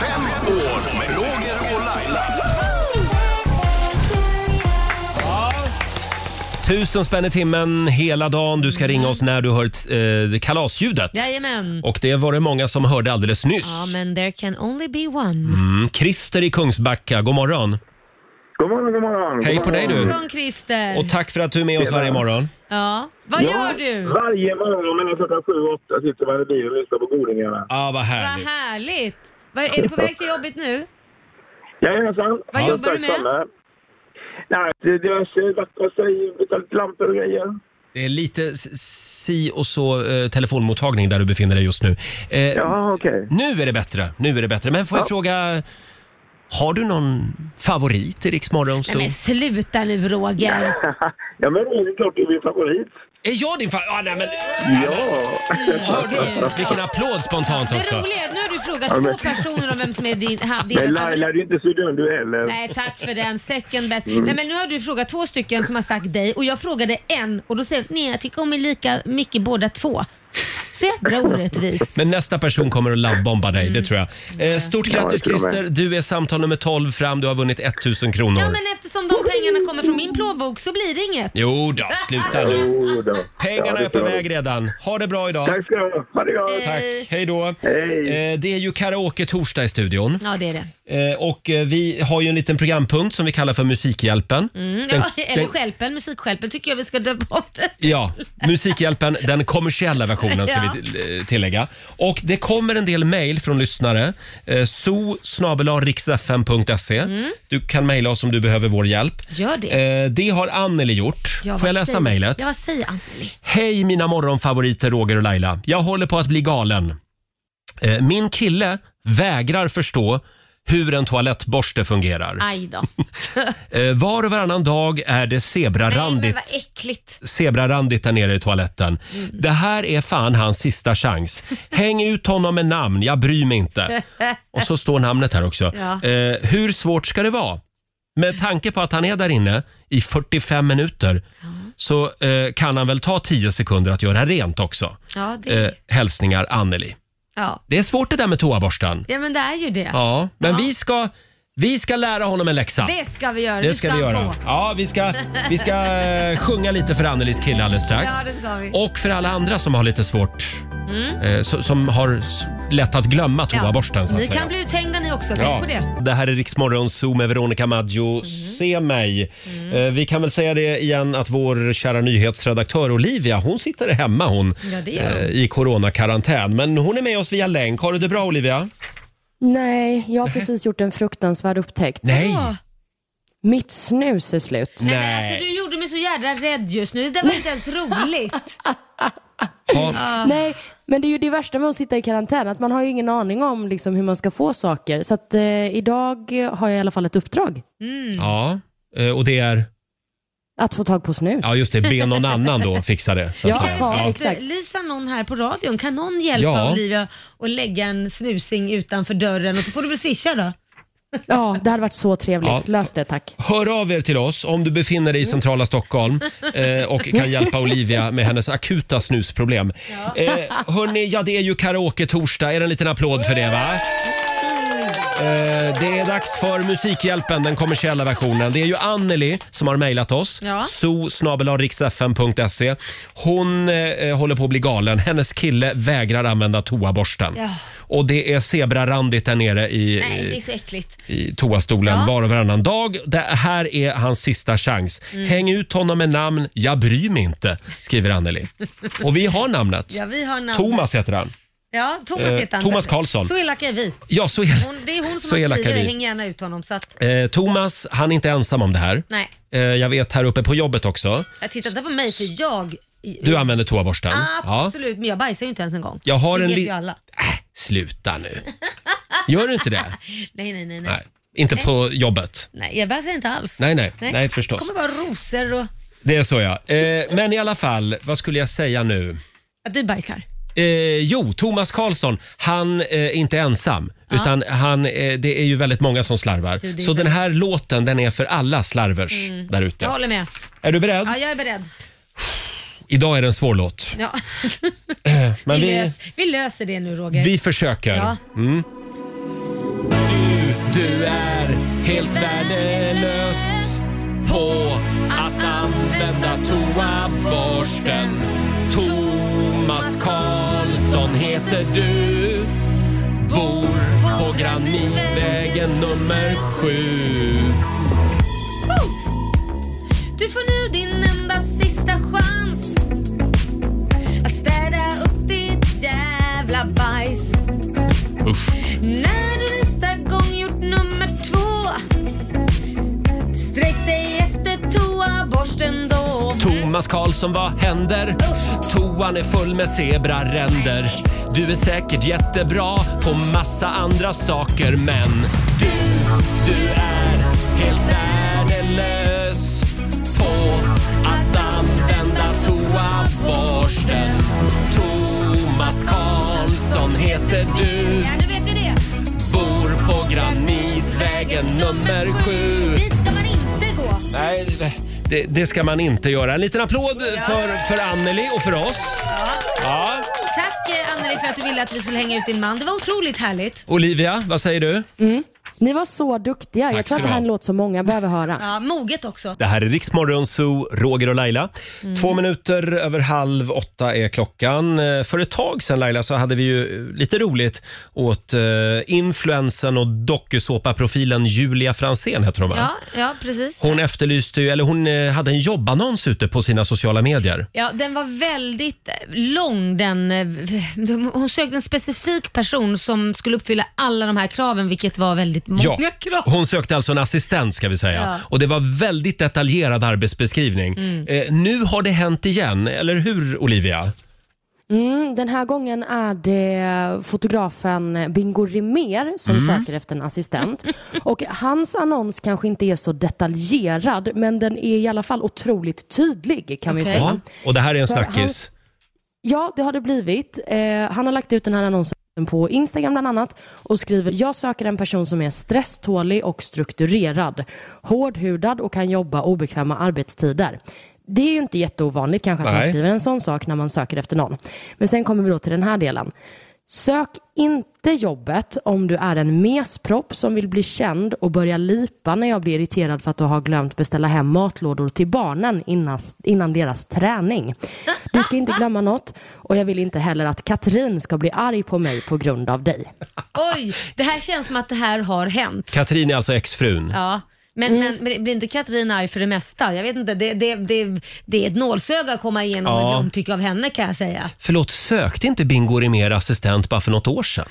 S4: Fem år med Roger och Laila.
S1: Tusen spänn i timmen hela dagen. Du ska ringa oss när du hör eh, kalasljudet.
S2: Jajamän.
S1: Och det var det många som hörde alldeles
S2: Ja,
S1: nyss.
S2: men there can only be one.
S1: Mm, Christer i Kungsbacka, god morgon.
S9: God morgon, god morgon.
S1: Hej
S9: God
S1: på dig
S9: morgon.
S1: du.
S2: Från Christer.
S1: Och tack för att du är med oss varje morgon.
S2: Ja. Vad gör du?
S9: Varje morgon mellan klockan sju och åtta sitter man i bilen och lyssnar på godingarna.
S1: Ah, vad
S2: Vad
S1: härligt.
S2: härligt. Vad- Är du på väg till jobbet nu?
S9: Jajamensan.
S2: Vad
S9: Ja,
S2: jobbar du
S9: tack
S2: med?
S9: samma. Nej, det är diverse vackra grejer, betalt lampor och grejer.
S1: Det är lite s- si och så eh, telefonmottagning där du befinner dig just nu. Eh,
S9: Ja, okej.
S1: Nu är det bättre. Nu är det bättre. Men får jag fråga, har du någon favorit i Rix Morgon
S2: Nej,
S1: Zoo?
S2: men sluta nu Roger.
S9: ja, men det är klart du är min favorit.
S1: Är jag din favorit? Ah, nej, men...
S9: Ja.
S1: Hörde du? Vilken applåd spontant
S2: Det
S1: också.
S2: roliga är att nu har du frågat
S9: Ja, men-
S2: två personer om vem som är din, ha,
S9: Men
S2: deras
S9: Laila,
S2: favorit.
S9: du är inte så dum du heller.
S2: Nej, tack för den. Second best.
S9: Mm.
S2: Nej, men nu har du frågat två stycken som har sagt dig och jag frågade en och då säger du nej, jag tycker om er lika mycket båda två. Så jädra orättvist.
S1: Men nästa person kommer att lovebomba dig,
S2: Mm.
S1: det tror jag. Eh, stort grattis
S9: tror jag med.
S1: Christer, du är samtal nummer 12 fram. Du har vunnit 1000 kronor.
S2: Ja, men eftersom de pengarna kommer från min plånbok så blir det inget.
S1: Jo då, sluta nu.
S9: Jo då. Ja,
S1: Pengarna
S9: det
S1: är på
S9: tror jag.
S1: väg redan. Ha det bra idag.
S9: Tack ska du ha. Ha det gott.
S1: Tack, hej då.
S9: Hej.
S1: Eh, det är ju karaoke-torsdag i studion.
S2: Ja, det är det.
S1: Eh, och eh, vi har ju en liten programpunkt som vi kallar för Musikhjälpen. Den-
S2: Mm. Ja, eller
S1: den-
S2: stjälpen, musikstjälpen tycker jag vi ska döpa bort.
S1: Ja, Musikhjälpen, den kommersiella versionen ska vi vi till- eh, tillägga. Och det kommer en del mejl från lyssnare. Eh, so E.
S2: Mm.
S1: Du kan mejla oss om du behöver vår hjälp.
S2: Gör det.
S1: Eh, det har Anneli gjort.
S2: Ja,
S1: Får jag
S2: vad
S1: läsa
S2: säger-
S1: mejlet?
S2: Ja, vad säger Anneli?
S1: Hej mina morgonfavoriter Roger och Laila. Jag håller på att bli galen. Eh, Min kille vägrar förstå hur en toalettborste fungerar.
S2: Aj då.
S1: Eh, Var och varannan dag är det
S2: Nej, men
S1: zebrarandigt
S2: vad äckligt.
S1: zebrarandigt där nere i toaletten.
S2: Mm.
S1: Det här är fan hans sista chans. Häng ut honom med namn, jag bryr mig inte. Och så står namnet här också.
S2: Ja.
S1: Eh, hur svårt ska det vara? Med tanke på att han är där inne i 45 minuter så eh, kan han väl ta 10 sekunder att göra rent också.
S2: Ja, det,
S1: Eh, hälsningar Anneli.
S2: ja.
S1: Det är svårt det där med toaborsten.
S2: ja, men det är ju det.
S1: Ja, men
S2: Ja.
S1: Vi, ska, vi ska lära honom en läxa.
S2: Det ska vi göra.
S1: Det
S2: Nu
S1: ska vi
S2: han
S1: göra.
S2: få.
S1: Ja, vi ska, vi ska eh, sjunga lite för Annelies kille alldeles strax.
S2: Ja, det ska vi. Mm.
S1: Och för alla andra som har lite svårt, eh, so- som har s- lätt att glömma toaborsten så att
S2: Ni
S1: säga.
S2: kan bli uthängda ni också, tänk
S1: Ja.
S2: på det. Mm.
S1: Det här är Riksmorgon Zoo med Veronica Maggio. Se mig! Eh, Vi kan väl säga det igen att vår kära nyhetsredaktör Olivia, hon sitter hemma hon.
S2: Ja, det gör hon.
S1: eh, I coronakarantän. Men hon är med oss via länk. Har du det bra Olivia?
S3: Nej, jag har precis gjort en fruktansvärd upptäckt.
S1: Nej!
S2: Ja.
S3: Mitt snus är slut.
S2: Nej. Men alltså, du gjorde mig så jävla rädd just nu. Det där var inte ens roligt.
S1: Ja.
S3: Nej, men det är ju det värsta med att sitta i karantän, att man har ju ingen aning om liksom, hur man ska få saker. Så att, eh, idag har jag i alla fall ett uppdrag.
S2: Mm.
S1: ja. Eh, Och det är,
S3: Att få tag på snus.
S1: ja just det, be någon annan då fixa det. så att
S3: Ja,
S1: säga.
S2: Kan
S3: ja,
S2: vi
S3: exakt.
S2: efterlysa någon här på radion? Kan någon hjälpa
S1: Ja.
S2: Olivia att lägga en snusing utanför dörren och så får du väl swisha
S1: Eh.
S2: då?
S3: Ja, det hade varit så trevligt.
S1: Ja.
S3: Lös det tack.
S1: Hör av er till oss om du befinner dig i centrala Stockholm eh, och kan hjälpa Olivia med hennes akuta snusproblem. Eh, hörni, ja det är ju karaoke-torsdag. Är det en liten applåd för det va? Eh, Det är dags för Musikhjälpen, den kommersiella versionen. Det är ju Anneli som har mejlat oss.
S2: Ja.
S1: so E. Hon eh, håller på att bli galen. Hennes kille vägrar använda toaborsten.
S2: Ja.
S1: Och det är zebrarandigt där nere i,
S2: Nej,
S1: i
S2: det är så äckligt.
S1: i toastolen
S2: Ja.
S1: var och varannan dag. Det här är hans sista chans.
S2: Mm.
S1: Häng ut honom med namn. Jag bryr mig inte, skriver Anneli. Och vi har namnet.
S2: Ja, vi har namn.
S1: Thomas heter han.
S2: Ja, Thomas
S1: Eh,
S2: heter han.
S1: Thomas Karlsson.
S2: Så elaka är vi.
S1: Ja, så är det.
S2: Hon, det är hon som
S1: Så
S2: har
S1: elaka
S2: skrivit
S1: är
S2: det.
S1: vi.
S2: Häng gärna ut honom. Så att,
S1: Eh, Thomas, han är inte ensam om det här.
S2: nej,
S1: Eh, jag vet här uppe på jobbet också.
S2: jag tittar inte på mig för jag...
S1: Du använder toaborsten.
S2: Absolut, men jag bajsar ju inte ens en gång.
S1: Jag har
S2: det
S1: en
S2: vet
S1: li-
S2: ju alla.
S1: Äh, Sluta nu. Gör du inte det?
S2: Nej, nej, nej. nej.
S1: Nej, inte på jobbet.
S2: nej jag bajsar inte alls.
S1: Nej, nej, nej,
S2: Det
S1: förstås.
S2: kommer bara rosor och...
S1: Det är så ja. Eh, men i alla fall, vad skulle jag säga nu?
S2: Att du bajsar.
S1: Eh, jo, Thomas Karlsson, han eh, är inte ensam. Utan han, eh, det är ju väldigt många som slarvar.
S2: det är
S1: Så den här låten den är för alla slarvers där ute.
S2: Jag håller med.
S1: Är du beredd?
S2: Ja, jag är beredd.
S1: Idag är det en svår låt.
S2: Ja.
S1: Eh, Men
S2: vi,
S1: vi,
S2: lös, vi löser det nu Roger.
S1: vi försöker.
S2: Ja.
S1: Mm. Du, du är helt värdelös på att använda toaborsten. Thomas Karlsson heter du. Bor på Granitvägen nummer sju.
S2: Du får nu din enda sista chans att städa upp ditt jävla bajs.
S1: Usch.
S2: När du nästa gång gjort nummer två sträck dig efter toaborsten då.
S1: Thomas Karlsson, vad händer? Toan är full med zebraränder. Du är säkert jättebra på massa andra saker, men du, du är helt värdelös på att använda toaborsten. Thomas Karlsson heter du,
S2: Ja, nu vet vi det.
S1: bor på Granitvägen nummer sju.
S2: Dit ska man inte gå.
S1: Nej, det- det, det ska man inte göra. En liten applåd för, för Anneli och för oss. Ja.
S2: Tack eh, Anneli för att du ville att vi skulle hänga ut din man. Det var otroligt härligt.
S1: Olivia, vad säger du?
S3: Ni var så duktiga.
S1: Tack
S3: Jag tror
S1: ska
S3: att
S1: du
S3: det här
S1: ha.
S3: är en låt som många behöver höra.
S2: Ja, moget också.
S1: Det här är Riksmorgon Zoo, Roger och Laila. Två minuter över halv åtta är klockan. Eh, För ett tag sedan Laila så hade vi ju eh, lite roligt åt eh, influensen och dokusåpaprofilen Julia Fransén heter hon va?
S2: Ja, ja precis.
S1: Hon efterlyste ju, eller hon eh, hade en jobbannons ute på sina sociala medier.
S2: Ja, den var väldigt eh, lång. Den, eh, de- hon sökte en specifik person som skulle uppfylla alla de här kraven, vilket var väldigt många
S1: Ja,
S2: krav.
S1: hon sökte alltså en assistent ska vi säga.
S2: Ja.
S1: Och det var väldigt detaljerad arbetsbeskrivning. Eh, nu har det hänt igen, eller hur
S3: Eh.
S1: Olivia?
S3: Mm, den här gången är det fotografen Bingo Rimér som
S1: Mm.
S3: söker efter en assistent. Och hans annons kanske inte är så detaljerad, men den är i alla fall otroligt tydlig kan man
S2: Okej.
S3: ju säga.
S1: Ja. Och det här är en
S3: För han-
S1: snackis.
S3: Ja, det har det blivit. Eh, han har lagt ut den här annonsen på Instagram bland annat och skriver “Jag söker en person som är stresstålig och strukturerad, hårdhudad och kan jobba obekväma arbetstider”. Det är ju inte jätteovanligt kanske att
S1: Nej.
S3: man skriver en sån sak när man söker efter någon. Men sen kommer vi då till den här delen. Sök inte jobbet om du är en mespropp som vill bli känd och börja lipa när jag blir irriterad för att du har glömt beställa hem matlådor till barnen innan, innan deras träning. Du ska inte glömma något och jag vill inte heller att Katrin ska bli arg på mig på grund av dig.
S2: Oj, det här känns som att det här har hänt.
S1: Katrin är alltså exfrun.
S2: Ja. Men, men, men blir inte Katrin arg för det mesta? Jag vet inte, det, det, det, det är ett nålsöga att komma igenom
S1: Ja.
S2: ja. omtycke av henne kan jag säga.
S1: Förlåt, sökte inte Bingo Rimér assistent bara för något år sedan?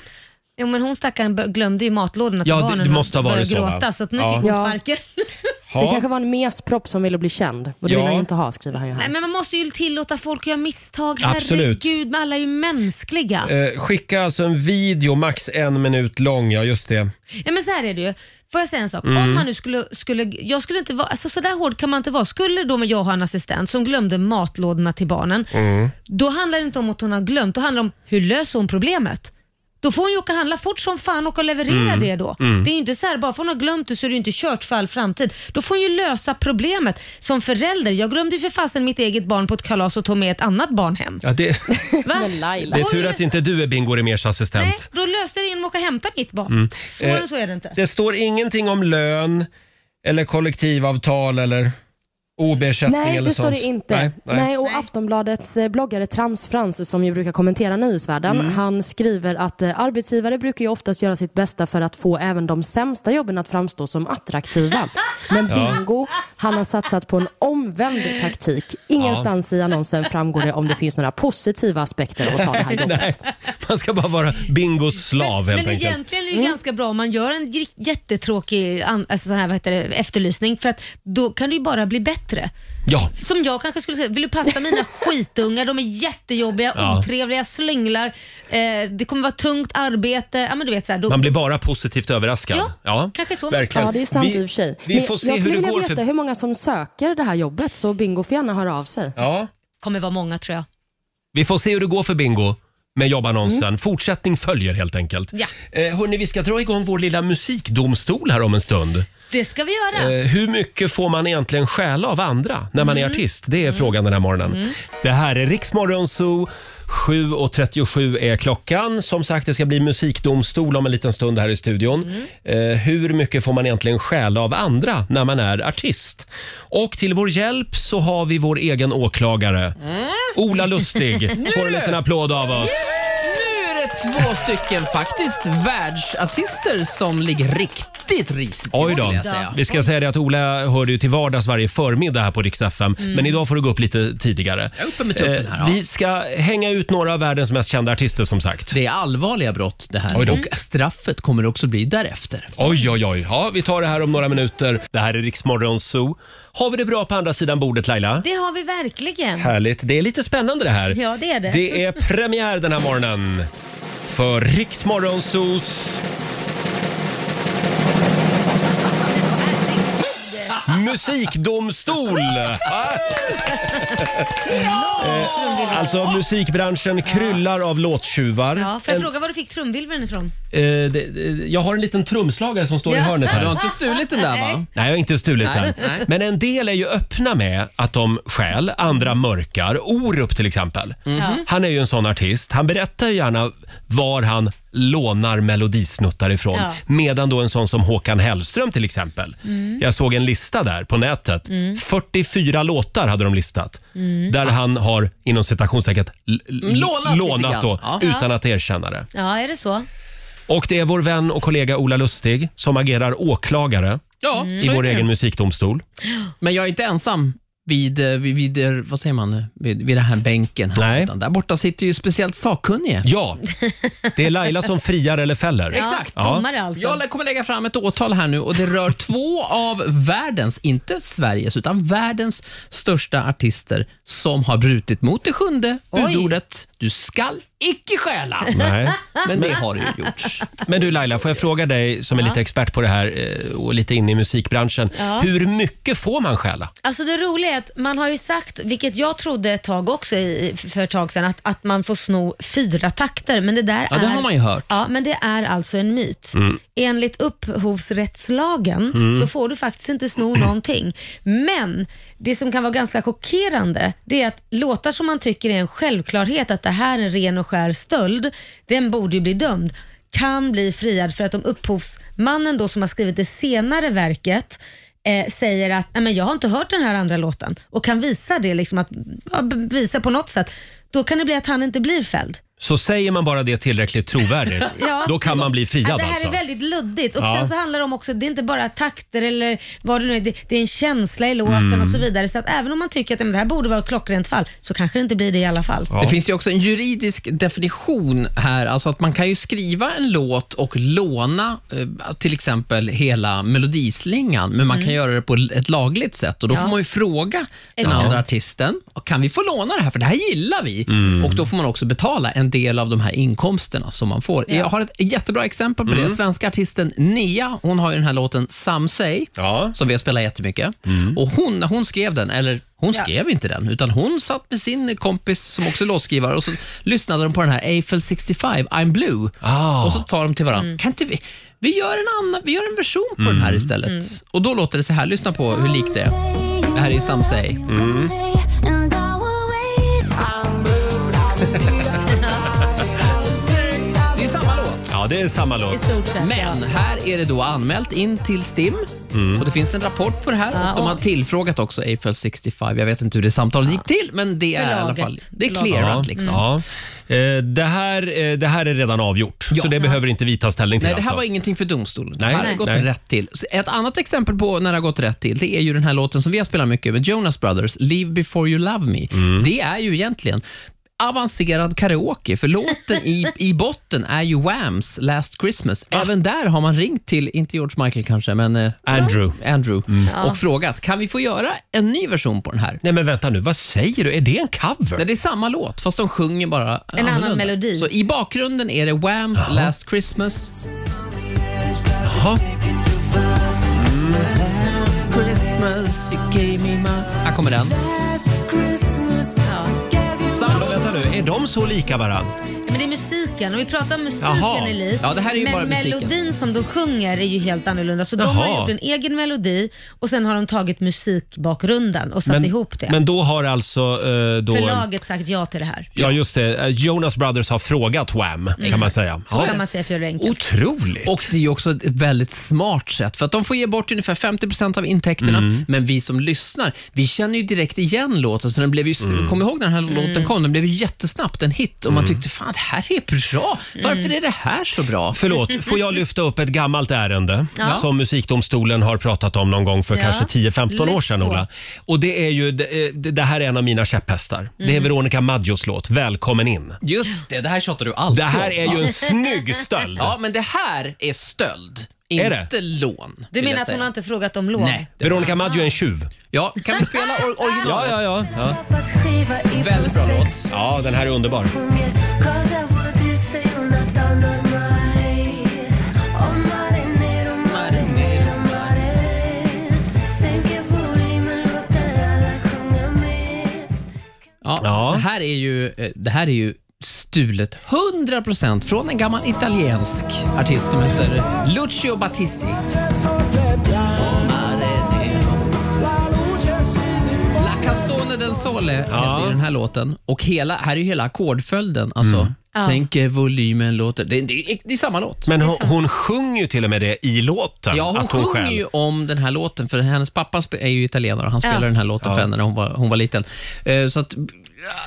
S2: Jo men hon stackaren bör- glömde ju matlådorna till
S1: Ja, det-
S2: barnen
S1: det
S2: och
S1: måste ha varit
S2: började
S1: så, va?
S2: gråta så att nu
S1: Ja.
S2: fick hon
S3: Ja.
S2: sparken.
S3: Det kanske var en mespropp som ville bli känd och det
S1: Ja.
S3: vill han inte ha skriver han ju
S2: Nej,
S3: här.
S2: men man måste ju tillåta folk att göra misstag.
S1: Absolut.
S2: Herregud, men alla är ju mänskliga.
S1: Eh, skicka alltså en video max en minut lång, ja just det.
S2: Ja, men så här är det ju. Får jag säga en sak?
S1: Mm.
S2: Om man nu skulle, skulle, jag skulle inte vara, alltså så där hård kan man inte vara. Skulle då jag ha en assistent som glömde matlådorna till barnen,
S1: Mm.
S2: då handlar det inte om att hon har glömt, då handlar det om hur löser hon problemet? Då får hon ju åka och handla fort som fan och åka och leverera
S1: Mm.
S2: det då. Det är ju inte så här, bara för hon har glömt det så är det ju inte kört för all framtid. Då får hon ju lösa problemet som förälder. Jag glömde ju för fasen mitt eget barn på ett kalas och tog med ett annat barn hem.
S1: Ja, det,
S2: Va?
S3: Men Laila.
S1: det är tur att inte du är Bingo Rimérs
S2: Nej,
S1: assistent.
S2: då löste jag det genom att åka och hämta mitt barn. Svårare
S1: Eh,
S2: så är det inte.
S1: Det står ingenting om lön eller kollektivavtal eller OB-ersättning
S3: Nej,
S1: eller
S3: det
S1: sånt.
S3: står det inte.
S1: Nej,
S3: Nej,
S1: nej.
S3: och Aftonbladets eh, bloggare Tramsfrans, som ju brukar kommentera nyhetsvärlden, han skriver att eh, arbetsgivare brukar ju oftast göra sitt bästa för att få även de sämsta jobben att framstå som attraktiva. Men Bingo, han har satsat på en omvänd taktik. Ingenstans i annonsen framgår det om det finns några positiva aspekter att ta det här jobbet.
S1: Nej, man ska bara vara Bingos slav
S2: men
S1: helt
S2: men
S1: enkelt. Mm.
S2: egentligen är det ju ganska bra om man gör en gri- jättetråkig an- alltså sån här, vad heter det, efterlysning för att då kan det ju bara bli bättre.
S1: Ja,
S2: Som jag kanske skulle säga, vill du passa mina skitungar? De är jättejobbiga,
S1: Ja.
S2: otrevliga, slänglar. Eh, det kommer vara tungt arbete. Ja, men du vet, så här, då,
S1: man blir bara positivt överraskad.
S2: Ja, kanske så man ska-
S1: verkligen.
S3: Ja, det är sant i och för sig.
S1: Vi, vi
S3: Men
S1: får se
S3: jag
S1: hur
S3: skulle
S1: det
S3: vilja
S1: går
S3: veta
S1: för...
S3: hur många som söker det här jobbet, så Bingo får gärna höra av sig.
S1: Ja,
S2: kommer vara många tror jag.
S1: Vi får se hur det går för Bingo med jobbannonsen. Fortsättning följer helt enkelt.
S2: Mm. Ja.
S1: Eh, hörni, vi ska dra igång vår lilla musikdomstol här om en stund.
S2: Det ska vi göra.
S1: Eh, hur mycket får man egentligen stjäla av andra när man är artist? Det är frågan den här morgonen. Det här är Riksmorgon Zoo. 7.37 är klockan. Som sagt, det ska bli musikdomstol om en liten stund här i studion. Eh, hur mycket får man egentligen stjäla av andra när man är artist? Och till vår hjälp så har vi vår egen åklagare. Ola Lustig får en liten applåd av oss.
S7: Nu är det två stycken faktiskt världsartister som ligger riktigt risigt
S1: Oj då.
S7: skulle jag säga.
S1: Vi ska säga det att Ola hör du till vardags varje förmiddag här på Rix FM. Men idag får du gå upp lite tidigare.
S7: Mm.
S1: Eh,
S7: Jag är uppe med tuppen här, ja.
S1: Vi ska hänga ut några av världens mest kända artister som sagt.
S7: Det är allvarliga brott det
S1: Oj
S7: här
S1: då.
S7: och straffet kommer också bli därefter.
S1: Oj, oj, oj. Ja, vi tar det här om några minuter. Det här är Rix Morgon Zoo. Har vi det bra på andra sidan bordet Laila?
S2: Det har vi verkligen.
S1: Härligt. Det är lite spännande det här.
S2: Ja, det är det.
S1: Det är premiär den här morgonen för Rix Morgon Zoos Musikdomstol! Eh,
S2: Trumvirvel.
S1: Alltså musikbranschen kryllar av låttjuvar.
S2: Ja, får jag
S1: En-
S2: fråga var du fick trumvirveln ifrån?
S1: Eh, det, det- jag har en liten trumslagare som står i
S2: Ja.
S1: hörnet
S7: Du har
S1: här.
S7: inte stulit den
S2: eh,
S7: där va?
S1: Nej, jag har inte stulit
S7: Nej,
S1: den.
S7: nej.
S1: Men en del är ju öppna med att de stjäl, andra
S2: Mhm.
S1: mörkar. Orup till exempel. Han är ju en sån artist. Han berättar ju gärna var han lånar melodisnuttar ifrån.
S2: Ja.
S1: Medan då en sån som Håkan Hellström till exempel.
S2: Mm.
S1: Jag såg en lista där på nätet.
S2: Mm.
S1: 44 låtar hade de listat.
S2: Mm.
S1: Där han har, inom citationstecken, l- l-
S2: Lånat lite
S1: lånat
S2: grann.
S1: då,
S2: Ja.
S1: utan att erkänna det.
S2: Ja, är det så?
S1: Och det är vår vän och kollega Ola Lustig som agerar åklagare
S7: Ja,
S1: i
S7: så är
S1: vår
S7: det.
S1: egen musikdomstol.
S7: Men jag är inte ensam vid, eh, vid, vid eh, vad säger man, eh, vid, vid den här bänken. Här
S1: Nej.
S7: Utan där borta sitter ju speciellt sakkunnige.
S1: Ja, det är Laila som friar eller fäller.
S7: Exakt.
S1: Ja.
S2: alltså.
S7: Jag lä- kommer lägga fram ett åtal här nu och det rör två av världens, inte Sveriges, utan världens största artister som har brutit mot det sjunde budordet. Du skall icke stjäla.
S1: Nej.
S7: Men det har det ju gjorts.
S1: Men du Laila, får jag fråga dig som är
S2: Ja.
S1: lite expert på det här eh, och lite inne i musikbranschen.
S2: Ja.
S1: Hur mycket får man stjäla?
S2: Alltså det roliga är att man har ju sagt, vilket jag trodde ett tag också i, för ett tag sedan, att, att man får sno fyra takter. Men det där
S7: Ja,
S2: är,
S7: det har man ju hört.
S2: Ja, men det är alltså en myt.
S7: Mm.
S2: Enligt upphovsrättslagen
S7: Mm.
S2: så får du faktiskt inte sno någonting. Men det som kan vara ganska chockerande, det är att låtar som man tycker är en självklarhet, att det här är en ren och skär stöld, den borde ju bli dömd kan bli friad för att om upphovsmannen då som har skrivit det senare verket eh, säger att Nej, men jag har inte hört den här andra låten och kan visa det, liksom att, ja, b- visa på något sätt, då kan det bli att han inte blir fälld.
S1: Så säger man bara det tillräckligt trovärdigt,
S2: Ja,
S1: då kan man bli friad
S2: Ja, det här
S1: alltså.
S2: är väldigt luddigt och
S1: Ja.
S2: sen så handlar det om också, det är inte bara takter eller vad det nu är, det, det är en känsla i låten
S7: Mm.
S2: och så vidare. Så att även om man tycker att "Ja, men det här borde vara ett klockrent fall så kanske det inte blir det i alla fall.
S7: Det finns ju också en juridisk definition här, alltså att man kan ju skriva en låt och låna eh, till exempel hela melodislingan, men man
S2: Mm.
S7: kan göra det på ett lagligt sätt och då
S2: Ja.
S7: får man ju fråga den
S2: Exakt.
S7: andra artisten, kan vi få låna det här för det här gillar vi? Och då får man också betala en del av de här inkomsterna som man får.
S2: Ja.
S7: Jag har ett jättebra exempel på
S1: Mm.
S7: det. Svenska artisten Nia, hon har ju den här låten Some Say, som vi har spelat jättemycket.
S1: Mm.
S7: Och hon, när hon skrev den, eller hon
S2: Ja.
S7: skrev inte den, utan hon satt med sin kompis som också är låtskrivare och så lyssnade de på den här Eiffel 65, I'm blue.
S1: Ah.
S7: Och så tar de till varandra,
S2: Mm.
S7: kan inte vi, vi gör en annan, vi gör en version på den här
S1: Mm.
S7: istället.
S2: Mm.
S7: Och då låter det så här, lyssna på hur likt det är. Det här är ju Some Say.
S1: Mm.
S7: Det är samma låt.
S1: Ja, det är samma låt.
S7: Men här är det då anmält in till STIM
S1: Mm.
S7: och det finns en rapport på det här.
S2: Ja,
S7: och de har
S2: och-
S7: tillfrågat också Eiffel 65. Jag vet inte hur det samtalet gick till, men det är i alla
S2: Förlaget. Mm.
S7: fall det är
S2: Förlaget.
S7: clearat.
S1: Ja,
S7: Liksom.
S1: ja. Eh, Det, här, eh, det här är redan avgjort, så det behöver inte vi ta ställning till.
S7: Nej, det här
S1: alltså.
S7: var ingenting för domstolen.
S1: Nej,
S7: det här har
S1: nej.
S7: gått
S1: nej.
S7: rätt till. Så Ett annat exempel på när det har gått rätt till, det är ju den här låten som vi har spelat mycket med Jonas Brothers, Live before you love me.
S1: Mm.
S7: Det är ju egentligen avancerad karaoke, för låten i, i botten är ju Whams Last Christmas. Även där har man ringt till, inte George Michael kanske, men eh,
S1: Andrew.
S7: Andrew
S1: Mm.
S7: och frågat, kan vi få göra en ny version på den här?
S1: Nej, men vänta nu. Vad säger du? Är det en cover?
S7: Nej, det är samma låt, fast de sjunger bara En
S2: annan melodi.
S7: Så i bakgrunden är det Whams Last Christmas.
S1: Jaha.
S7: Mm. Här kommer den.
S1: Samma låt. Vänta nu, är de så lika varandra?
S2: Ja, Men det är musiken och vi pratar om musiken
S1: Jaha.
S2: är lik.
S1: Ja, det här är ju
S2: men
S1: bara musiken.
S2: melodin som de sjunger är ju helt annorlunda. Så de
S1: Jaha.
S2: har gjort en egen melodi och sen har de tagit musikbakgrunden och satt ihop det.
S1: men då har alltså... eh, Då,
S2: Förlaget sagt ja till det här.
S1: Ja, just det. Eh, Jonas Brothers har frågat Wham, kan man
S2: Exakt.
S1: säga.
S2: Så kan man säga för att göra det enkelt.
S1: Otroligt.
S7: Och det är ju också ett väldigt smart sätt, för att de får ge bort ungefär 50 av intäkterna,
S1: Mm.
S7: men vi som lyssnar, vi känner ju direkt igen låten. Så den blev ju, Kom ihåg när den här
S1: Mm.
S7: låten kom? Den blev ju jättesnabbt en hit och man
S1: Mm.
S7: tyckte, fan det här är bra. Varför
S2: Mm.
S7: är det här så bra?
S1: Förlåt, får jag lyfta upp ett gammalt ärende
S7: Ja.
S1: som musikdomstolen har pratat om någon gång för
S7: Ja.
S1: kanske 10-15 år
S7: Lyft
S1: sedan,
S7: på.
S1: Ola. Och det, är ju, det, det här är en av mina käpphästar. Det är
S7: Mm.
S1: Veronica Maggios låt Välkommen in.
S7: Just det, det här tjatar du alltid
S1: Det här
S7: om,
S1: är
S7: va?
S1: ju en snygg stöld.
S7: Ja, men det här är stöld, inte
S1: Är det?
S7: lån.
S2: Du
S7: vill
S2: menar
S7: jag
S2: att hon
S7: säga.
S2: har inte frågat om lån?
S7: Nej.
S1: Veronica Maggio är en tjuv.
S7: Ja, kan vi spela or- originalet?
S1: Ja, ja, ja. ja.
S7: Väldigt bra låt.
S1: Ja, den här är underbar.
S7: Ja, Det, här är ju, eh, det här är ju stulet 100% från en gammal italiensk artist som heter Lucio Battisti.
S1: Mm.
S7: La canzone del sole heter ju den här låten. Och hela, här är ju hela ackordföljden. Alltså,
S2: Ja.
S7: Sänker volymen, låter... Det, det, det är samma låt.
S1: Men hon, hon sjunger ju till och med det i låten.
S7: Ja, hon
S1: att hon
S7: sjunger
S1: själv...
S7: ju om den här låten, för hennes pappa spe- är ju italienare och han spelade den här låten för henne när hon var, hon var liten. Eh, Så att,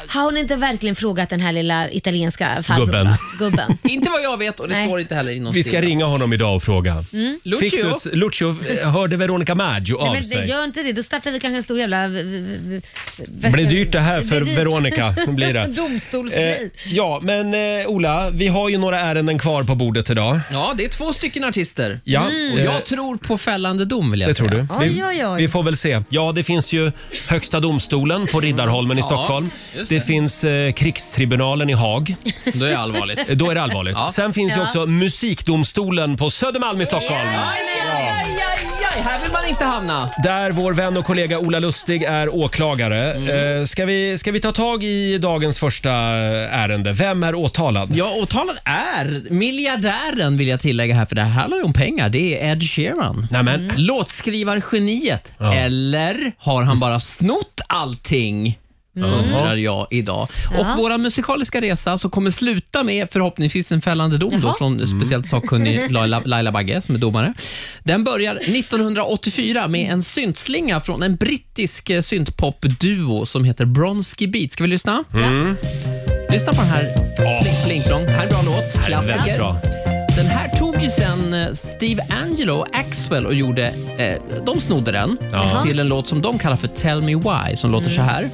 S2: Har hon inte verkligen frågat den här lilla italienska farbrorn?
S1: Gubben.
S2: va? Gubben.
S7: inte vad jag vet och det
S2: Nej.
S7: står inte heller i någon
S1: Vi ska
S7: stil.
S1: ringa honom idag och fråga. Fick
S7: Lucio.
S1: du ett- Lucio eh, hörde Veronica Maggio av
S2: Nej, men det
S1: sig.
S2: gör inte det. Då startar vi kanske en stor jävla... eh, v- v- v-
S1: Det
S2: väska-
S1: blir dyrt det här för
S2: blir eh, dyrt.
S1: Veronica. Det blir det.
S2: Domstolsgrej.
S1: Eh, ja, men eh, Ola, vi har ju några ärenden kvar på bordet idag.
S7: Ja, det är två stycken artister.
S1: Ja,
S7: Och
S1: eh,
S7: jag tror på fällande dom, vill jag
S1: det tror
S7: säga.
S1: du.
S2: Oj,
S1: Vi,
S2: oj, oj.
S1: vi får väl se. Ja, det finns ju Högsta domstolen på Riddarholmen i
S7: Ja,
S1: Stockholm. Det.
S7: just det.
S1: finns eh, Krigstribunalen i Haag.
S7: Då är det allvarligt.
S1: Eh, Då är det allvarligt.
S7: Ja.
S1: Sen finns ju
S2: Ja.
S1: också Musikdomstolen på Södermalm i Stockholm.
S7: Aj, aj, aj, aj, aj. Här vill man inte hamna.
S1: Där vår vän och kollega Ola Lustig är åklagare.
S7: Mm.
S1: Eh, Ska, vi, ska vi ta tag i dagens första eh, ärende? Vem är åtalad?
S7: Ja, åtalad är miljardären vill jag tillägga här, för det här handlar ju om pengar. Det är Ed Sheeran.
S1: Nämen.
S2: Mm.
S7: Låtskrivargeniet. Eller har han bara snott allting?
S1: Mm.
S7: Undrar jag idag.
S2: Ja.
S7: Och vår musikaliska resa så kommer sluta med förhoppningsvis en fällande dom då
S2: Jaha.
S1: Mm.
S7: från speciellt sakkunnig Laila, Laila Bagge som är domare. Den börjar 1984 med en syntslinga från en brittisk eh, syntpopduo som heter Bronski Beat. Ska vi lyssna?
S1: Mm.
S7: Lyssna på den här. Blink, blink, blong. Här är en bra låt.
S1: Det är
S7: Klassiker.
S1: väldigt bra.
S7: Den här tog ju sen eh, Steve Angelo och Axwell och gjorde, eh, de snodde den
S1: Jaha. Mm.
S7: till en låt som de kallar för Tell Me Why som låter så här.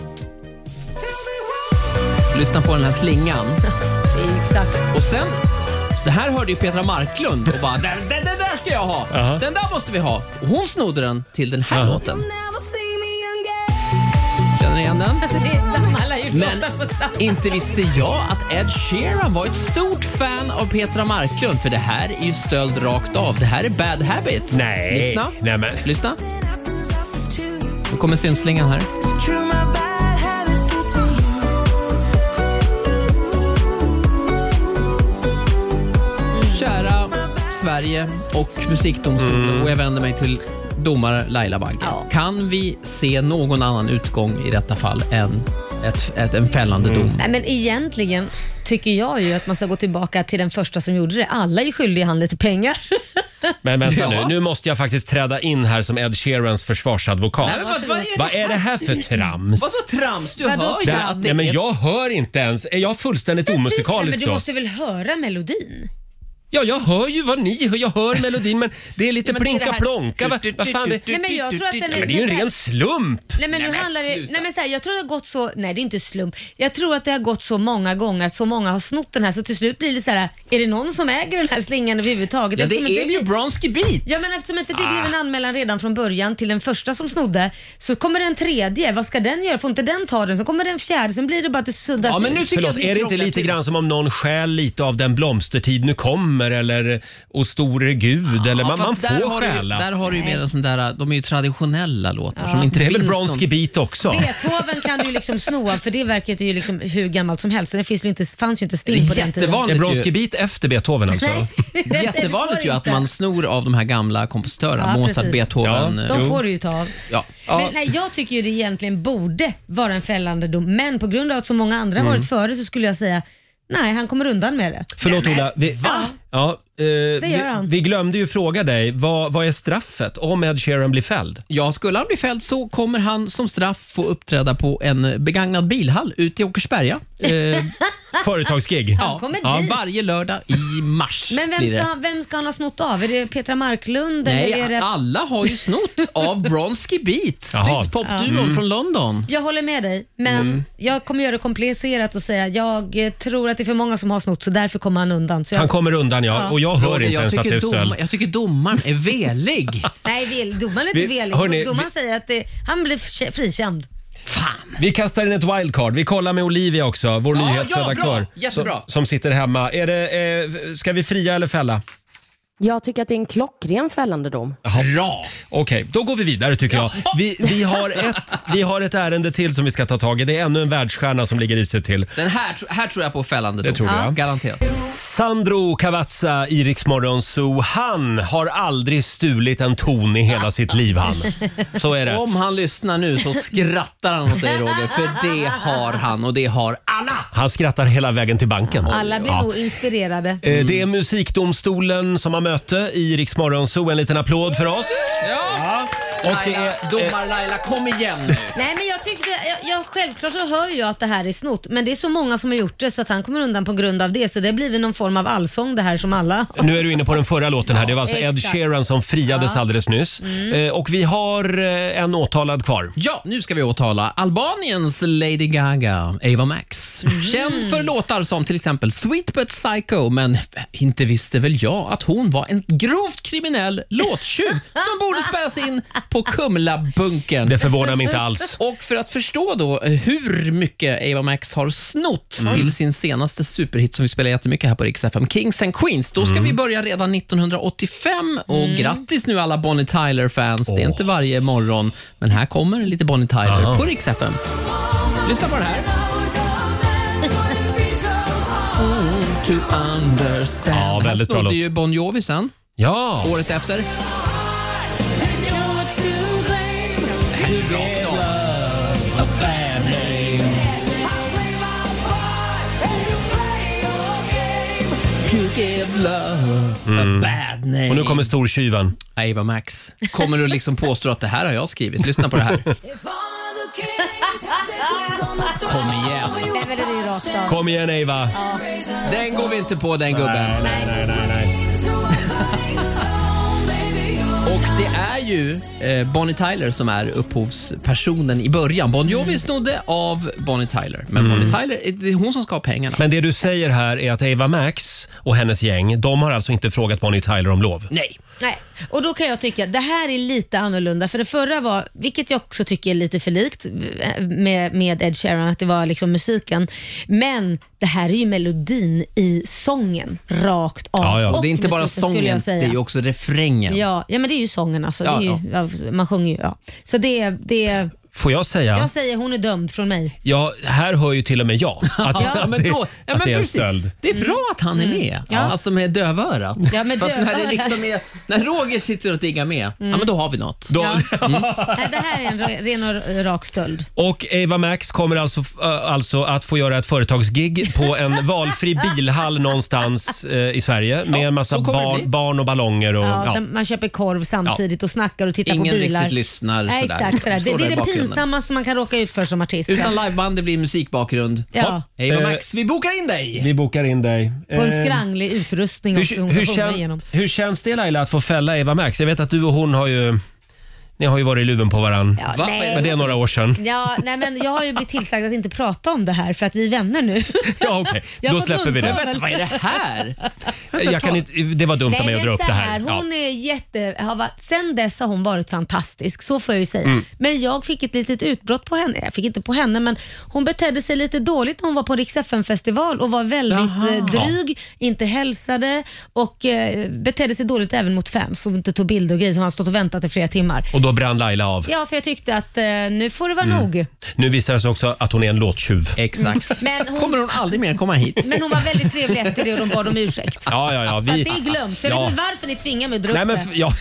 S7: Lyssna på den här slingan.
S2: Det är ju Exakt.
S7: Och sen, det här hörde ju Petra Marklund och bara den, den, den där ska jag ha,
S1: Jaha.
S7: den där måste vi ha. Och hon snodde den till den här
S1: Jaha.
S7: låten. Känner ni igen den?
S2: Alltså, det är samma. Alla har gjort
S7: Men
S2: låtar på samma.
S7: inte visste jag att Ed Sheeran var ett stort fan av Petra Marklund för det här är ju stöld rakt av. Det här är bad habits.
S1: Nej.
S7: Lyssna.
S1: Nej, men.
S7: Lyssna. Nu kommer synslingan här. Kära Sverige och musikdomstolen
S1: Mm.
S7: och jag vänder mig till domare Laila Bagge.
S2: Ja.
S7: Kan vi se någon annan utgång i detta fall än ett, ett, en fällande
S1: Mm.
S7: dom?
S2: Nej, men egentligen tycker jag ju att man ska gå tillbaka till den första som gjorde det. Alla är ju skyldiga han lite pengar.
S1: Men vänta
S7: Ja.
S1: nu, nu måste jag faktiskt träda in här som Ed Sheerans försvarsadvokat.
S7: Nej, men vad, vad är det?
S1: Vad är det här för trams?
S7: Vad så trams? Du
S2: Vadå
S7: hör ju
S2: trams?
S7: att det
S1: Nej, men
S7: är...
S1: jag hör inte ens. Är jag fullständigt
S2: Nej,
S1: omusikalisk
S2: men du
S1: då?
S2: måste väl höra melodin?
S1: Ja, jag hör ju vad ni hör. Jag hör melodin, men det är lite
S7: Ja, men det är det
S1: plinka
S7: här-
S1: plonka. Vad, vad fan det...
S2: Nej, men jag tror att den
S1: Nej, men det är ju en ren slump.
S2: Nej men,
S7: Nej,
S2: nu
S7: men
S2: handlar det,
S7: sluta.
S2: nej men så här, jag tror det har gått så, nej det är inte slump. Jag tror att det har gått så många gånger att så många har snott den här så till slut blir det så här, är det någon som äger den här slingan överhuvudtaget?
S7: Ja, det
S2: Eftersom inte
S7: är ju Ah.
S2: blir-
S7: Bronski Beat.
S2: Ja men eftersom inte det blev en anmälan redan från början till den första som snodde så kommer den tredje, vad ska den göra? Får inte den ta den? Så kommer den fjärde, sen blir det bara att det suddas
S7: Ja, men nu
S2: ut.
S7: tycker jag
S1: Förlåt,
S7: att
S1: är det inte
S7: krånglar
S1: lite
S7: till.
S1: grann som om någon stjäl lite av den blomstertid nu kommer eller Och store gud eller man, man
S7: fast där
S1: får
S7: har du, Där
S1: stjäla.
S7: har du ju mer en sån där, de är ju traditionella låtar som inte
S1: Det är väl
S7: finns
S1: Bronski
S7: någon...
S1: Beat också?
S2: Beethoven kan du ju liksom sno av för det verket är ju liksom hur gammalt som helst. Så det finns ju inte, fanns ju inte stim på den tiden.
S1: Är
S7: Jättevanligt
S1: Bronski
S7: ju,
S1: Beat efter Beethoven alltså?
S2: Det
S7: jättevanligt
S2: går
S7: ju att
S2: inte.
S7: man snor av de här gamla kompositörerna,
S2: Ja,
S7: Mozart,
S2: precis.
S7: Beethoven.
S1: Ja.
S7: eh,
S2: De
S1: Jo.
S2: får du ju ta av.
S7: ja.
S2: Men, nej, jag tycker ju det egentligen borde vara en fällande dom, men på grund av att så många andra
S1: Mm.
S2: varit före så skulle jag säga nej, han kommer undan med det.
S1: Förlåt Ola. Vi, Ja, eh, vi,
S2: gör han.
S1: vi glömde ju fråga dig, vad, vad är straffet om Ed Sheeran blir fälld?
S7: Ja, skulle han bli fälld så kommer han som straff få uppträda på en begagnad bilhall ute i Åkersberga. Eh,
S1: Företagsgig?
S2: Han kommer
S7: ja,
S2: dit.
S7: varje lördag i mars.
S2: Men vem
S7: blir
S2: ska,
S7: det.
S2: han, vem ska han ha snott av? Är det Petra Marklund? eller är
S7: Nej,
S2: det...
S7: alla har ju snott av Bronski Beat,
S1: Jaha. Mm.
S7: syntpopduon från London.
S2: Jag håller med dig, men jag kommer göra det komplicerat och säga jag eh, tror att det är för många som har snott så därför kommer han undan. Så jag...
S1: Han kommer undan ja, och jag hör
S7: Roger,
S1: inte
S7: jag
S1: ens att
S7: tycker
S1: det är stöld.
S7: dom- Jag tycker domaren är velig.
S2: Nej, vill, domaren är
S1: Vi-
S2: inte velig.
S1: hörni,
S2: domaren
S1: vi-
S2: säger att det, han blir f- frikänd.
S7: Fan.
S1: Vi kastar in ett wildcard. Vi kollar med Olivia också, vår
S7: Ja,
S1: nyhetsredaktör.
S7: ja, bra. Jättebra.
S1: Som, som sitter hemma. Är det, eh, ska vi fria eller fälla?
S3: Jag tycker att det är en klockren fällande dom.
S1: Bra! Okej, då går vi vidare tycker jag. Vi, vi, har ett, vi har ett ärende till som vi ska ta tag i. Det är ännu en världsstjärna som ligger i sig till.
S7: Den här, tr- här tror jag på fällande dom.
S1: Det tror jag.
S7: Garanterat.
S1: Sandro Cavazza i Rix Morgon Zoo, han har aldrig stulit en ton i hela sitt liv han. Så är det.
S7: Om han lyssnar nu så skrattar han åt dig Roger, för det har han och det har alla.
S1: Han skrattar hela vägen till banken.
S2: Alla blir
S1: Ja.
S2: nog inspirerade.
S1: Eh, Det är musikdomstolen som har möte i Rix Morgon Zoo. En liten applåd för oss.
S7: Ja.
S1: Och det
S7: Laila,
S1: är, eh,
S7: domar Laila, kom igen nu.
S2: Nej men jag tyckte, jag, jag, självklart så hör ju jag att det här är snott, men det är så många som har gjort det så att han kommer undan på grund av det. Så det blir väl någon form av allsång det här som alla
S1: eh, nu är du inne på den förra låten här. Det var alltså Ed
S2: Exakt. Mm.
S1: Sheeran som friades alldeles nyss. Eh, Och vi har eh, en åtalad kvar.
S7: Ja, nu ska vi åtala Albaniens Lady Gaga, Ava Max. Känd för låtar som till exempel Sweet But Psycho, men inte visste väl jag att hon var en grovt kriminell låttjuv som borde spärras in på Kumlabunkern.
S1: Det förvånar mig inte alls.
S7: Och för att förstå då eh, hur mycket Ava Max har snott
S1: Mm.
S7: till sin senaste superhit som vi spelar jättemycket här på Rix FM, Kings and Queens. Då ska
S1: Mm.
S7: vi börja redan 1985 och grattis nu alla Bonnie Tyler-fans. Det är inte varje morgon, men här kommer lite Bonnie Tyler
S1: Aha.
S7: på Rix FM. Lyssna på det här. Oh, To understand.
S1: Ja, väldigt bra
S7: här snodde
S1: låt.
S7: ju Bon Jovi sen,
S1: Ja,
S7: året efter. You give love a bad name.
S1: och nu kommer stortjuven.
S7: Ava Max kommer du liksom påstå att det här har jag skrivit. Lyssna på det här. Kom igen.
S2: Nej men det är ju rakt av.
S1: Kom igen Eva!
S7: Den går vi inte på den gubben. Och det är ju eh, Bonnie Tyler som är upphovspersonen i början. Bon Jovi snodde av Bonnie Tyler. Men Bonnie Tyler, eh, det är hon som ska ha pengarna.
S1: Men det du säger här är att Eva Max och hennes gäng, de har alltså inte frågat Bonnie Tyler om lov.
S7: Nej.
S2: Nej, och då kan jag tycka att det här är lite annorlunda. För det förra var, vilket jag också tycker är lite för likt eh, med, med Ed Sheeran, att det var liksom musiken. Men det här är ju melodin i sången, rakt av.
S1: Ja, ja.
S7: Och det är inte bara
S2: musiken, skulle
S7: sången,
S2: jag
S7: det
S2: säga.
S7: är ju också refrängen.
S2: Ja, ja, men det är ju sången alltså.
S7: Ja,
S2: det är ju, ja. Man sjunger ju. Ja. Så det, det,
S1: Får jag säga?
S2: jag säger hon är dömd från mig.
S1: Ja, här hör ju till och med jag att,
S7: Ja,
S1: att,
S7: men
S1: det,
S7: då, ja,
S1: att
S7: men
S1: det är en
S7: precis.
S1: stöld.
S7: Det är bra att han är med,
S2: Ja.
S7: alltså med dövörat.
S2: Ja, med
S7: För att när, det
S2: dövörat.
S7: liksom är, när Roger sitter och diggar med, ja men då har vi något.
S1: Då,
S2: Nej, det här är en re- ren och rak stöld.
S1: och Eva Max kommer alltså, f- äh, alltså att få göra ett företagsgig på en valfri bilhall någonstans eh, i Sverige med en massa
S7: så kommer det
S1: bar,
S7: bli.
S1: barn och ballonger. Och,
S2: Ja,
S1: ja.
S2: där Man köper korv samtidigt och snackar och tittar
S7: Ingen
S2: på bilar.
S7: riktigt lyssnar
S2: Nej,
S7: sådär.
S2: Exakt, sådär. Det, det
S7: Står där i
S2: är det
S7: bakgrunden.
S2: pinsammaste man kan råka ut för som artist.
S7: Utan liveband, det blir musikbakgrund.
S2: Ja.
S7: Hej vad
S1: Eh,
S7: Max, vi bokar in dig!
S1: Vi bokar in dig.
S2: På en
S1: Eh,
S2: skranglig utrustning också.
S1: hur,
S2: Hon ska
S1: hur,
S2: sjunga
S1: kän,
S2: igenom.
S1: hur känns det Laila att få fälla Eva Max? Jag vet att du och hon har ju, ni har ju varit i luven på varann.
S2: Ja,
S7: Va?
S1: Men det
S2: nej.
S1: är några år sedan.
S2: Ja, nej, men jag har ju blivit tillsagd att inte prata om det här för att vi är vänner nu.
S1: Ja, okej.
S2: Jag
S1: Då
S2: får
S1: släpper vi det.
S2: munkorg.
S7: Vänta, vad är det här?
S1: Jag kan inte, det var dumt av mig att dra upp
S2: så
S1: det här. Ja.
S2: Hon är jätte, har varit, sen dess har hon varit fantastisk, så får jag ju säga.
S1: Mm.
S2: Men jag fick ett litet utbrott på henne. Jag fick inte på henne, men hon betedde sig lite dåligt när hon var på Rix festival och var väldigt eh, dryg, inte hälsade och eh, betedde sig dåligt även mot fans och inte tog bilder och grejer som han stått och väntat i flera timmar.
S1: Och då brann Laila av.
S2: Ja, för jag tyckte att eh, nu får det vara
S1: Mm.
S2: nog.
S1: Nu visar det sig också att hon är en låttjuv.
S7: Exakt.
S2: Men hon,
S7: Kommer hon aldrig mer komma hit?
S2: men hon var väldigt trevlig efter det och de bad om ursäkt.
S1: Ja, ja, ja.
S2: Så att det är glömt. Så jag
S1: Ja.
S2: vet inte varför ni tvingar mig att dra
S1: Nej,
S2: upp
S1: men,
S2: det.
S1: f- ja.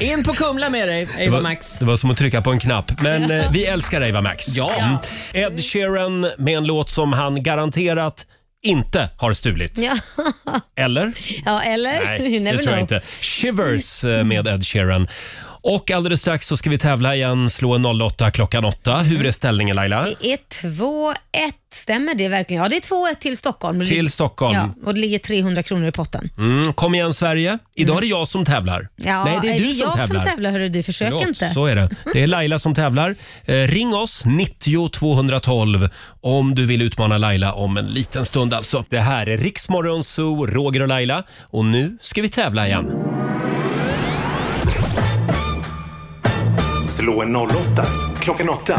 S7: In på Kumla med dig,
S1: det,
S7: Eva
S1: var,
S7: Max.
S1: det var som att trycka på en knapp. Men eh, vi älskar Eva Max.
S7: Ja.
S1: Mm. Ed Sheeran med en låt som han garanterat inte har stulit.
S2: Ja.
S1: Eller?
S2: Ja, eller?
S1: Nej,
S2: You
S1: det
S2: never
S1: tror jag
S2: know.
S1: inte. Shivers eh, med Ed Sheeran. Och alldeles strax så ska vi tävla igen. Slå en 08 klockan 8.
S2: Mm.
S1: Hur är ställningen Laila?
S2: Det är 2-1, stämmer det verkligen? Ja, det är 2-1 till Stockholm. Det ligger-
S1: Till Stockholm.
S2: Ja, och det ligger 300 kronor i potten.
S1: Mm, kom igen Sverige. Idag är det jag som tävlar.
S2: Mm. Ja,
S1: Nej, det är, du
S2: jag
S1: som tävlar.
S2: som tävlar, hörru du. Försök
S1: Förlåt,
S2: inte.
S1: Så är det. Det är Laila som tävlar. Eh, ring oss, 90 212 om du vill utmana Laila om en liten stund alltså. Det här är Riksmorgon Zoo, Roger och Laila och nu ska vi tävla igen.
S4: Slå en 08 klockan åtta.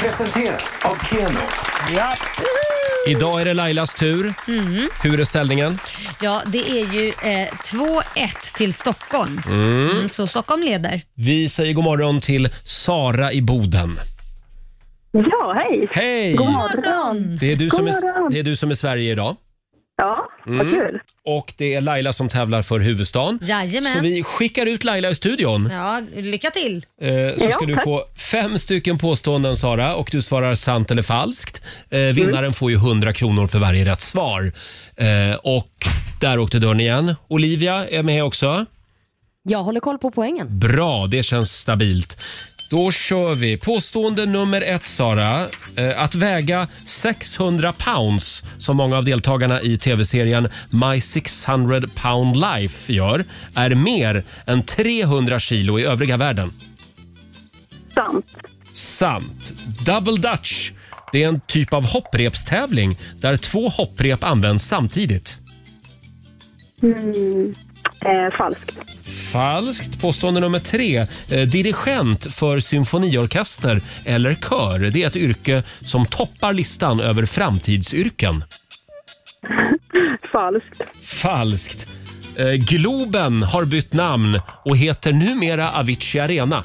S4: Presenteras av Keno.
S1: Ja. Idag är det Lailas tur.
S2: Mm.
S1: Hur är ställningen?
S2: Ja, det är ju eh, 2-1 till Stockholm.
S1: Mm.
S2: Mm, så Stockholm leder.
S1: Vi säger god morgon till Sara i Boden.
S5: Ja, hej!
S1: Hej! Mm.
S5: God morgon!
S1: Det är du
S5: God
S1: som är,
S5: morgon.
S1: det är, du som är Sverige idag.
S5: Ja, vad kul.
S1: Och det är Laila som tävlar för huvudstaden.
S2: Jajamän.
S1: Så vi skickar ut Laila i studion.
S2: Ja, lycka till.
S1: Eh, Så
S2: Ja,
S1: ska du
S2: tack.
S1: få fem stycken påståenden Sara och du svarar sant eller falskt. Eh, Vinnaren
S5: Mm.
S1: får ju 100 kronor för varje rätt svar. Eh, Och där åkte dörren igen. Olivia är med också.
S3: Jag håller koll på poängen.
S1: Bra, det känns stabilt. Då kör vi. Påstående nummer ett, Sara. Eh, Att väga 600 pounds, som många av deltagarna i tv-serien My 600 pound life gör, är mer än 300 kilo i övriga världen.
S5: Sant.
S1: Sant. Double Dutch. Det är en typ av hopprepstävling där två hopprep används samtidigt.
S5: Mm. Eh, falskt.
S1: Falskt. Påstående nummer tre. Eh, dirigent för symfoniorkester eller kör. Det är ett yrke som toppar listan över framtidsyrken.
S5: Falskt.
S1: Falskt. Eh, Globen har bytt namn och heter numera Avicii Arena.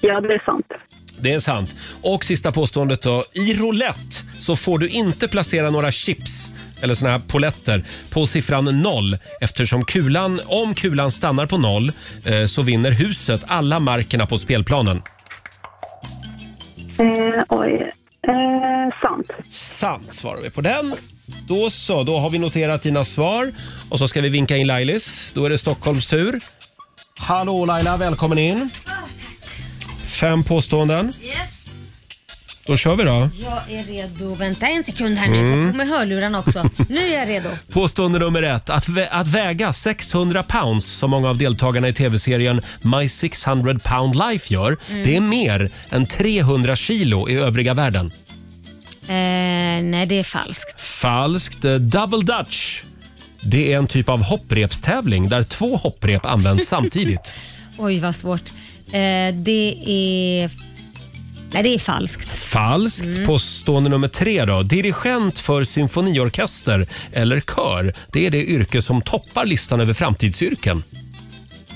S5: Ja, det är sant.
S1: Det är sant. Och sista påståendet då. I roulette så får du inte placera några chips eller såna här poletter på siffran noll eftersom kulan, om kulan stannar på noll eh, så vinner huset alla markerna på spelplanen.
S5: Eh, oj. Eh, sant.
S1: Sant svarar vi på den. Då så, då har vi noterat dina svar och så ska vi vinka in Lailis. Då är det Stockholms tur. Hallå Laila, välkommen in. Fem påståenden.
S2: Ah, Yes.
S1: Då kör vi då.
S2: Jag är redo. Vänta en sekund här nu. Jag
S1: Mm.
S2: sätter på mig hörlurarna också. Nu är jag redo.
S1: Påstående nummer ett. Att, vä- att väga 600 pounds som många av deltagarna i tv-serien My 600 pound life gör,
S2: Mm.
S1: det är mer än 300 kilo i övriga världen.
S2: Eh, nej, det är falskt.
S1: Falskt. Eh, Double Dutch. Det är en typ av hopprepstävling där två hopprep används samtidigt.
S2: Oj, vad svårt. Eh, det är... Nej, det är falskt.
S1: Falskt.
S2: Mm.
S1: Påstående nummer tre då. Dirigent för symfoniorkester eller kör, det är det yrke som toppar listan över framtidsyrken.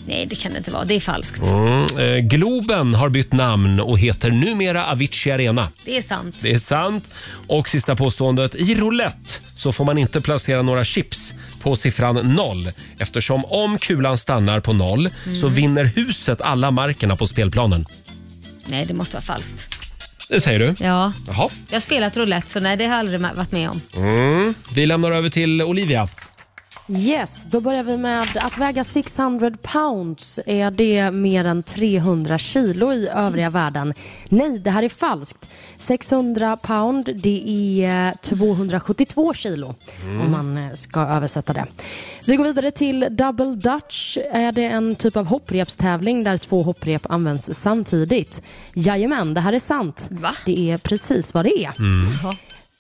S2: Nej, det kan det inte vara. Det är falskt.
S1: Mm. Eh, Globen har bytt namn och heter numera Avicii Arena.
S2: Det är sant.
S1: Det är sant. Och sista påståendet. I roulette så får man inte placera några chips på siffran noll eftersom om kulan stannar på noll så
S2: Mm.
S1: vinner huset alla markerna på spelplanen.
S2: Nej, det måste vara falskt.
S1: Det säger du?
S2: Ja.
S1: Jaha.
S2: Jag har spelat roulette, så nej, det har jag aldrig varit med om.
S1: Mm. Vi lämnar över till Olivia.
S3: Yes, då börjar vi med att väga 600 pounds. Är det mer än 300 kilo i övriga världen? Nej, det här är falskt. 600 pound, det är eh, 272 kilo
S10: Mm.
S3: om man eh, ska översätta det. Vi går vidare till double dutch. Är det en typ av hopprepstävling där två hopprep används samtidigt? Jajamän, det här är sant. Det är precis vad det är.
S1: Mm.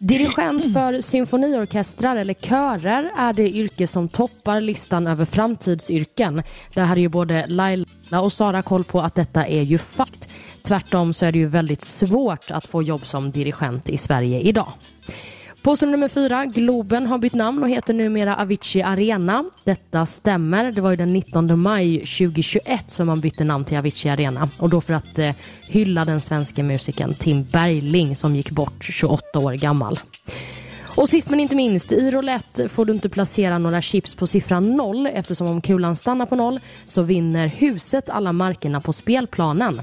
S3: Dirigent för symfoniorkestrar eller körer är det yrke som toppar listan över framtidsyrken. Det här är ju både Laila och Sara koll på att detta är ju falskt. Tvärtom så är det ju väldigt svårt att få jobb som dirigent i Sverige idag. Påstående nummer fyra, Globen har bytt namn och heter numera Avicii Arena. Detta stämmer. Det var ju den 19 maj 2021 som man bytte namn till Avicii Arena. Och då för att eh, hylla den svenska musikern Tim Bergling som gick bort 28 år gammal. Och sist men inte minst, i roulette får du inte placera några chips på siffran noll eftersom om kulan stannar på noll så vinner huset alla markerna på spelplanen.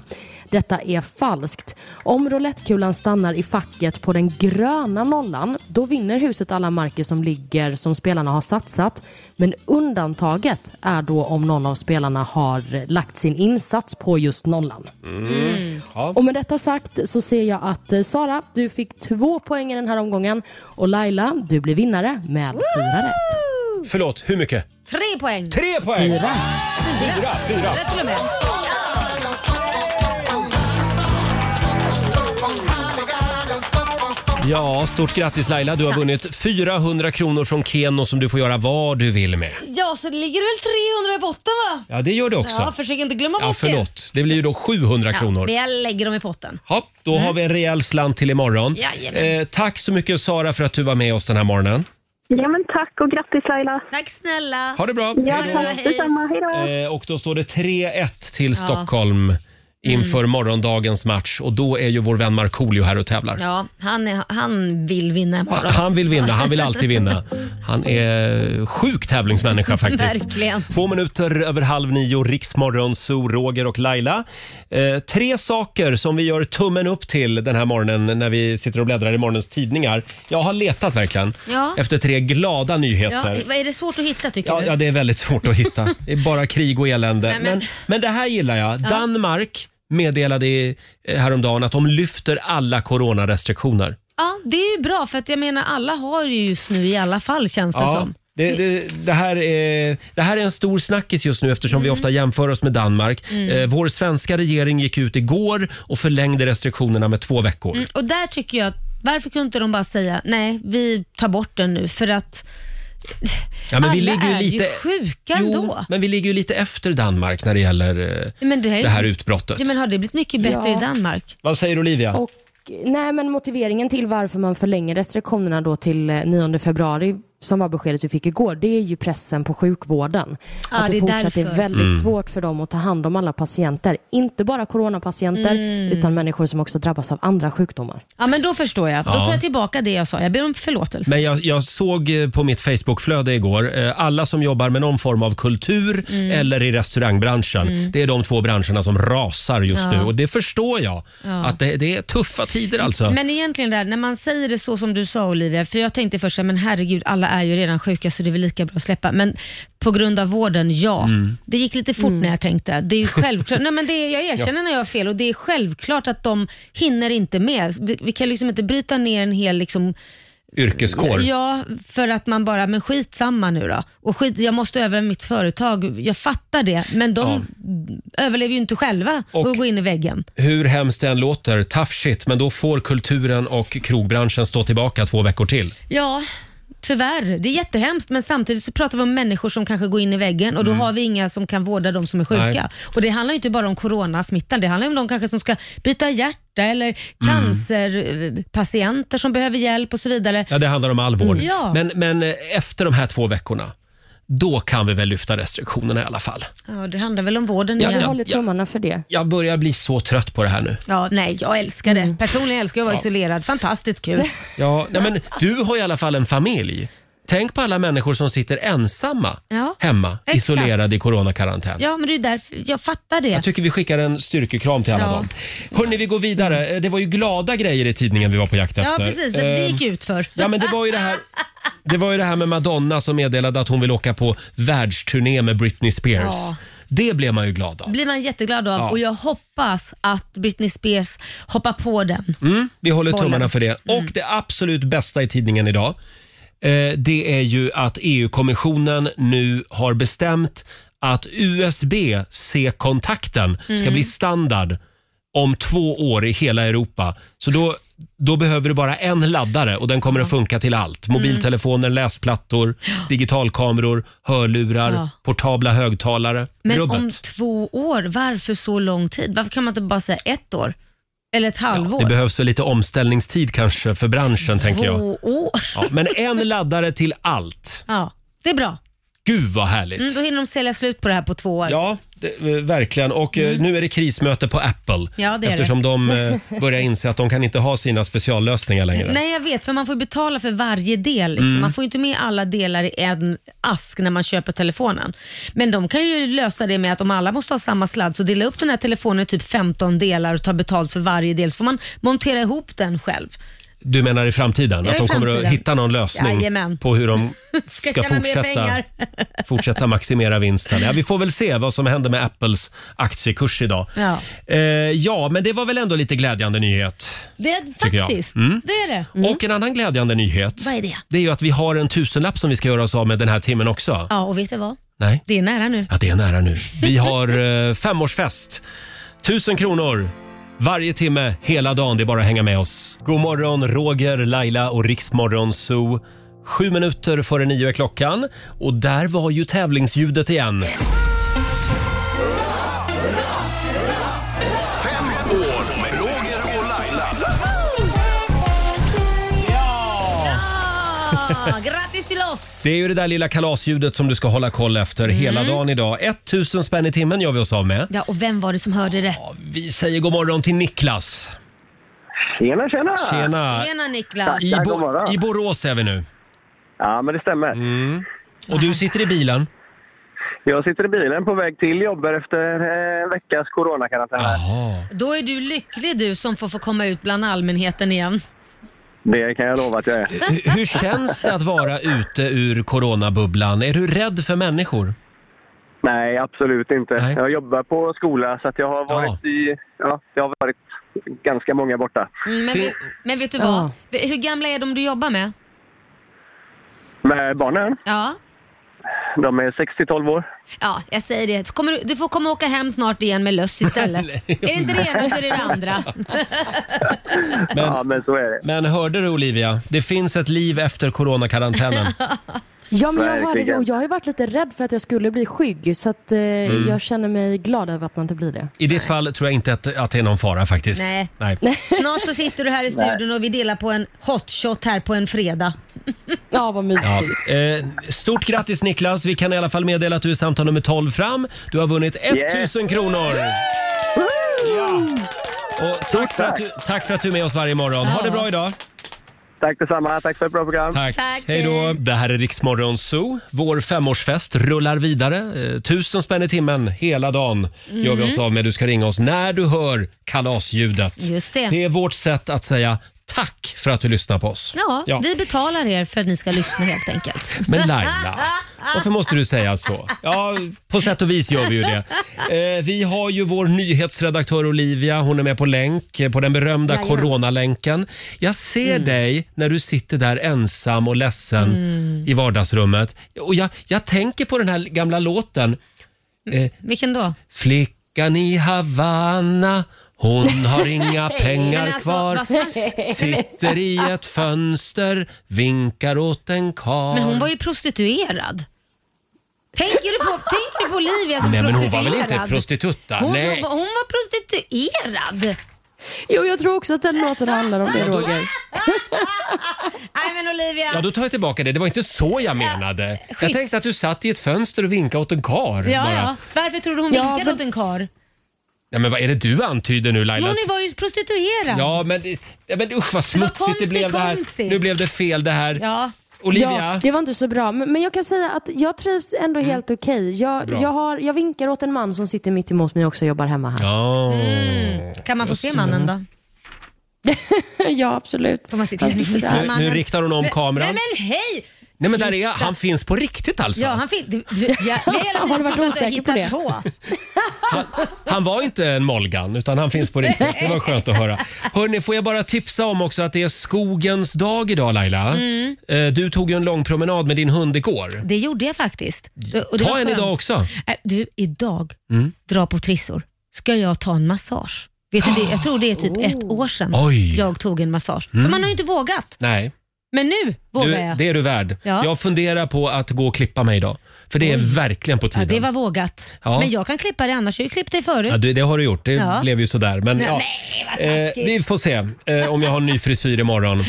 S3: Detta är falskt. Om roulettekulan stannar i facket på den gröna nollan då vinner huset alla marker som ligger som spelarna har satsat. Men undantaget är då om någon av spelarna har lagt sin insats på just nollan.
S10: Mm.
S3: Och med detta sagt så ser jag att eh, Sara, du fick två poäng i den här omgången och Laila, du blir vinnare med fyra rätt.
S1: Förlåt, hur mycket?
S2: Tre poäng!
S1: Tre poäng!
S3: Fyra.
S1: Fyra, fyra.
S2: Rätt till och med.
S1: Ja, stort grattis Laila. Du har
S2: Tack.
S1: vunnit 400 kronor från Keno som du får göra vad du vill med.
S2: Ja, så det ligger väl 300 i botten va?
S1: Ja, det gör du också.
S2: Ja, försök inte glömma
S1: Ja,
S2: bort
S1: förlåt. Det blir ju då 700
S2: det. Ja,
S1: kronor.
S2: men jag lägger dem i potten.
S1: Ja, då har vi en rejäl slant till imorgon.
S2: Jajamän.
S1: Eh, tack så mycket Sara för att du var med oss den här morgonen.
S5: Ja, men tack och grattis Laila.
S2: Tack snälla.
S1: Ha det bra.
S5: Ja,
S1: Hej då.
S5: tack detsamma. Hej då.
S1: Eh, och då står det 3-1 till Stockholm inför morgondagens match och då är ju vår vän Markoolio här och tävlar.
S2: Ja, han, är, han vill vinna imorgon.
S1: Han vill vinna, han vill alltid vinna. Han är sjuk tävlingsmänniska faktiskt.
S2: Verkligen.
S1: Två minuter över halv nio, Riksmorgon, Zoo, Roger och Laila. Eh, tre saker som vi gör tummen upp till den här morgonen när vi sitter och bläddrar i morgonens tidningar. Jag har letat verkligen
S2: Ja.
S1: efter tre glada
S2: Ja,
S1: nyheter.
S2: vad är det svårt att hitta tycker
S1: Ja,
S2: du?
S1: ja, det är väldigt svårt att hitta. Det är bara krig och elände.
S2: Nej,
S1: men...
S2: men-
S1: Men, det här gillar jag. Danmark meddelade i- häromdagen att de lyfter alla coronarestriktioner.
S2: Ja, det är ju bra för att jag menar alla har ju just nu i alla fall känns det som.
S1: Det, det, det, här är, det här är en stor snackis just nu eftersom
S2: Mm.
S1: vi ofta jämför oss med Danmark. Eh, vår svenska regering gick ut igår och förlängde restriktionerna med två veckor.
S2: Mm, Och där tycker jag, att- varför kunde inte de bara säga nej, vi tar bort den nu för att
S1: Ja, men
S2: alla
S1: vi ligger ju
S2: är
S1: lite,
S2: ju sjuka
S1: jo,
S2: ändå.
S1: men vi ligger ju lite efter Danmark när det gäller eh,
S2: Men det, är ju-
S1: det här utbrottet.
S2: ja, men har det blivit mycket bättre
S3: Ja.
S2: i Danmark?
S1: Vad säger Olivia?
S3: Och, eh, nej, men motiveringen till varför man förlänger restriktionerna då till eh, 9 februari, som var beskedet vi fick igår, det är ju pressen på sjukvården.
S2: Ja,
S3: att
S2: det
S3: det
S2: är
S3: fortsatt är
S2: därför.
S3: väldigt
S1: Mm.
S3: svårt för dem att ta hand om alla patienter. Inte bara coronapatienter,
S2: Mm.
S3: utan människor som också drabbas av andra sjukdomar.
S2: Ja, men då förstår jag. Då
S1: Ja.
S2: tar jag tillbaka det jag sa. Jag ber om förlåtelse.
S1: Men jag, jag såg eh, på mitt Facebookflöde igår, eh, alla som jobbar med någon form av kultur
S2: Mm.
S1: eller i restaurangbranschen, det är de två branscherna som rasar just nu och det förstår jag. Att det, det är tuffa tider alltså.
S2: Men egentligen där, när man säger det så som du sa Olivia, för jag tänkte först så här, men herregud alla är ju redan sjuka så det är väl lika bra att släppa. Men på grund av vården, ja.
S1: Mm.
S2: Det gick lite fort när jag tänkte. Det är ju självklart. Nej, men det, är- jag erkänner när jag har fel och det är självklart att de hinner inte med. Vi, vi kan liksom inte bryta ner en hel liksom,
S1: Yrkeskår.
S2: Ja, för att man bara, men skitsamma nu då. Och skit, jag måste överleva mitt företag, jag fattar det. Men de överlever ju inte själva och,
S1: Och-
S2: går in i väggen.
S1: Hur hemskt det än låter, tough shit, men då får kulturen och krogbranschen stå tillbaka två veckor till.
S2: Ja, tyvärr. Det är jättehemskt men samtidigt så pratar vi om människor som kanske går in i väggen och då har vi inga som kan vårda de som är sjuka.
S1: Nej.
S2: Och Det handlar ju inte bara om coronasmittan, det handlar ju om de kanske som ska byta hjärta eller cancerpatienter som behöver hjälp och så vidare.
S1: Ja, det handlar om all vård.
S2: Mm, ja.
S1: Men, men eh, efter de här två veckorna, då kan vi väl lyfta restriktionerna i alla fall.
S2: Ja, det handlar väl om vården
S1: Ja,
S2: igen.
S3: Jag
S1: ja.
S2: Ja.
S3: håller tummarna för det.
S1: Jag börjar bli så trött på det här nu.
S2: nej, jag älskar det. Personligen älskar jag att vara isolerad. Fantastiskt kul.
S1: Ja, nej, men du har i alla fall en familj. Tänk på alla människor som sitter ensamma
S2: Ja,
S1: hemma,
S2: exakt.
S1: isolerade i coronakarantän.
S2: Ja, men det är därför jag fattar det.
S1: Jag tycker vi skickar en styrkekram till alla
S2: Ja. Mm.
S1: dem. Hörni, vi går vidare. Eh, Det var ju glada grejer i tidningen vi var på jakt efter.
S2: Ja, precis. Det, det
S1: Eh,
S2: gick ut för.
S1: Ja, men det var ju det här... Det var ju det här med Madonna som meddelade att hon vill åka på världsturné med Britney Spears.
S2: Ja.
S1: Det blev man ju glad av.
S2: blir man jätteglad av
S1: Ja.
S2: och jag hoppas att Britney Spears hoppar på den.
S1: Mm, vi håller
S2: Bollen. Mm.
S1: tummarna för det. Och det absolut bästa i tidningen idag, eh, det är ju att EU-kommissionen nu har bestämt att USB-C-kontakten
S2: Mm.
S1: ska bli standard om två år i hela Europa. Så då, då behöver du bara en laddare och den kommer att funka till allt.
S2: Mm.
S1: Mobiltelefoner, läsplattor, digitalkameror, hörlurar,
S2: Ja.
S1: portabla högtalare.
S2: Men
S1: Rubbet.
S2: om två år, varför så lång tid? Varför kan man inte bara säga ett år? Eller ett halvår?
S1: Det behövs väl lite omställningstid kanske för branschen, tänker jag.
S2: Två år?
S1: Ja, men en laddare till allt.
S2: Ja, det är bra.
S1: Gud vad härligt.
S2: Mm, då hinner de sälja slut på det här på två år.
S1: Ja, det, eh, verkligen. Och eh, nu är det krismöte på Apple.
S2: Mm. Ja, det är
S1: eftersom de eh, börjar inse att de kan inte ha sina speciallösningar längre.
S2: Nej, jag vet, för man får ju betala för varje del. Liksom. Man får ju inte med alla delar i en ask när man köper telefonen. Men de kan ju lösa det med att om alla måste ha samma sladd, så dela upp den här telefonen i typ 15 delar och ta betalt för varje del, så får man montera ihop den själv.
S1: Du menar i framtiden?
S2: Ja,
S1: att
S2: i
S1: de kommer att
S2: framtiden.
S1: hitta någon lösning
S2: Jajamän.
S1: på hur de ska,
S2: Ska tjäna mer
S1: fortsätta,
S2: pengar.
S1: fortsätta maximera vinsten. Ja, vi får väl se vad som händer med Apples aktiekurs idag.
S2: Ja.
S1: Eh, ja, men det var väl ändå lite glädjande nyhet.
S2: Det är
S1: jag.
S2: faktiskt, det är det.
S1: Och en annan glädjande nyhet.
S2: Mm. Vad är det?
S1: Det är ju att vi har en tusenlapp som vi ska göra oss av med den här timmen också.
S2: Ja, och vet du vad?
S1: Nej.
S2: Det är nära nu.
S1: Ja, det är nära nu. Vi har eh, femårsfest. Tusen kronor Varje timme, hela dagen. Det är bara att hänga med oss. God morgon, Roger, Laila och Riksmorgon Zoo. Sju minuter före nio är klockan och där var ju tävlingsljudet igen.
S4: Fem år med Roger och Laila.
S2: Ah, grattis till oss!
S1: Det är ju det där lilla kalasljudet som du ska hålla koll efter
S9: Mm.
S1: hela dagen idag. 1000 spänn i timmen gör vi oss av med.
S2: Ja, och vem var det som hörde det?
S1: Vi säger god morgon till Niklas.
S9: Tjena, tjena!
S1: Tjena!
S2: Tjena Niklas!
S1: I, Bo-
S9: god morgon.
S1: I Borås är vi nu.
S9: Ja, men det stämmer.
S1: Mm. Och du sitter i bilen?
S9: Jag sitter i bilen på väg till jobbet efter eh, en veckas coronakarantän. här.
S1: Jaha.
S2: Då är du lycklig du som får få komma ut bland allmänheten igen.
S9: Det kan jag lova att jag är.
S1: Hur, hur känns det att vara ute ur coronabubblan? Är du rädd för människor?
S9: Nej, absolut inte.
S1: Nej.
S9: Jag jobbar på skola så att jag har
S1: Ja.
S9: varit i... Ja, jag har varit ganska många borta.
S2: Mm, Men,
S1: Fin-
S2: vi- men vet du
S3: Ja.
S2: vad? Hur gamla är de du jobbar med?
S9: Men barnen,
S2: Ja,
S9: de är 6-12 år.
S2: ja jag säger det. Så Kommer du, du får komma och åka hem snart igen med löss istället. är det inte det ena så är det det andra.
S9: Ja, men så är det.
S1: Men hörde du Olivia? Det finns ett liv efter coronakarantänen.
S3: Ja, men jag hörde
S9: Verkligen.
S3: det och jag har ju varit lite rädd för att jag skulle bli skygg så att eh,
S1: Mm.
S3: jag känner mig glad över att man inte blir det.
S1: I ditt fall tror jag inte att, att det är någon fara faktiskt.
S2: Nej.
S1: Nej.
S2: Snart så sitter du här i studion och vi delar på en hot shot här på en fredag.
S3: Ja, vad mysigt.
S1: Ja. Eh, stort grattis Niklas! Vi kan i alla fall meddela att du är samtal nummer 12 fram. Du har vunnit 1000 kronor! Ja. Och tack, för att du, tack för att du är med oss varje morgon. Ha det bra idag!
S9: Tack detsamma. Tack för ett bra program.
S1: Tack!
S2: Tack.
S1: Hej då! Det här är Riksmorgon Zoo. Vår femårsfest rullar vidare. Eh, tusen spänn i timmen hela dagen gör vi oss
S2: Mm.
S1: av med. Du ska ringa oss när du hör kalasljudet.
S2: Just det.
S1: Det är vårt sätt att säga tack för att du lyssnar på oss.
S2: Ja, vi betalar er för att ni ska lyssna helt enkelt.
S1: Men Laila, varför måste du säga så? Ja, på sätt och vis gör vi ju det. Eh, vi har ju vår nyhetsredaktör Olivia, hon är med på länk, eh, på den berömda
S3: Jajamän.
S1: coronalänken. Jag ser
S2: Mm.
S1: dig när du sitter där ensam och ledsen
S2: Mm.
S1: i vardagsrummet. Och jag, jag tänker på den här gamla låten,
S2: Vilken då?
S1: Flickan i Havanna, hon har inga pengar
S2: Men alltså,
S1: kvar.
S2: vad sant-
S1: Sitter i ett fönster, vinkar åt en karl.
S2: Men hon var ju prostituerad. Tänker du på, tänker du på Olivia som
S1: Nej, men hon
S2: prostituerad?
S1: var väl inte prostitutta?
S2: Hon,
S1: Nej.
S2: hon, var- hon var prostituerad.
S3: Jo, jag tror också att den låten handlar om det, Roger.
S2: Nej men Olivia.
S1: Ja, då tar jag tillbaka det. Det var inte så jag menade. Jag
S2: Äh, schysst.
S1: tänkte att du satt i ett fönster och vinkade åt en kar.
S2: ja,
S1: bara.
S2: ja. Varför tror du hon
S3: Ja,
S2: vinkade
S3: men-
S2: åt en kar?
S1: Nej, men vad är det du antyder nu Laila?
S2: Hon var ju prostituerad.
S1: alltså- Ja, men, ja, men usch vad smutsigt det
S2: komsi,
S1: blev det
S2: komsi.
S1: här. Nu blev det fel det här.
S2: Ja.
S1: Olivia? Mm.
S3: Ja, det var inte så bra. Men, men jag kan säga att jag trivs ändå helt okej. Jag,
S1: Bra.
S3: jag, har- jag vinkar åt en man som sitter mitt emot mig och också jobbar hemma här.
S1: Ja.
S2: Mm, Kan man få se mannen då?
S3: Ja, absolut.
S2: Får man se
S3: Han
S2: till
S3: sitter där.
S1: Nu, nu riktar hon om kameran.
S2: Nej men hej!
S1: Nej, men där är Han finns på riktigt alltså.
S2: Ja, han fick... du- du- Jag, jag har hela
S3: Har du
S2: tiden
S3: varit
S2: trott att jag
S3: osäker på
S2: hittat på.
S1: Han var inte en Molgan, utan han finns på riktigt. Det var skönt att höra. Hörni, får jag bara tipsa om också att det är skogens dag idag Laila.
S2: Mm.
S1: Eh, Du tog ju en lång promenad med din hund igår.
S2: Det gjorde jag faktiskt. Och det
S1: Ta
S2: var
S1: en
S2: skönt.
S1: idag också. Mm.
S2: Äh, Du, idag, dra på trissor, ska jag ta en massage. Vet du, det, jag tror det är typ ett
S3: Oh.
S2: år sedan
S1: Oj.
S2: jag tog en massage. För man har ju inte vågat.
S1: Nej,
S2: Men nu vågar
S1: du,
S2: jag.
S1: det är du värd.
S2: Ja.
S1: Jag funderar på att gå och klippa mig idag. För det är verkligen på
S2: Ja,
S1: tiden.
S2: det var vågat.
S1: Ja.
S2: Men jag kan klippa det annars. Jag har ju klippt dig förut.
S1: Ja, det, det har du gjort. Det
S2: Ja.
S1: blev ju sådär. Men,
S2: Nej,
S1: ja.
S2: nej, vad
S1: Eh,
S2: taskigt.
S1: vi får se eh, om jag har en ny frisyr imorgon.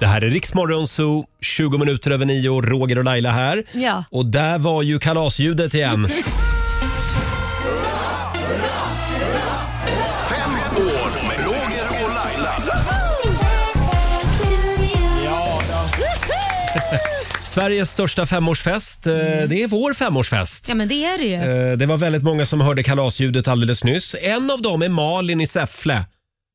S1: Det här är Riksmorgon Zoo, 20 minuter över nio. Roger och Laila här.
S2: Ja.
S1: Och där var ju kalasljudet igen.
S4: Fem år med Roger och Laila.
S1: Sveriges största femårsfest. Eh,
S2: Mm.
S1: Det är vår femårsfest.
S2: Ja, men det är det ju.
S1: Eh, Det var väldigt många som hörde kalasljudet alldeles nyss. En av dem är Malin i Säffle.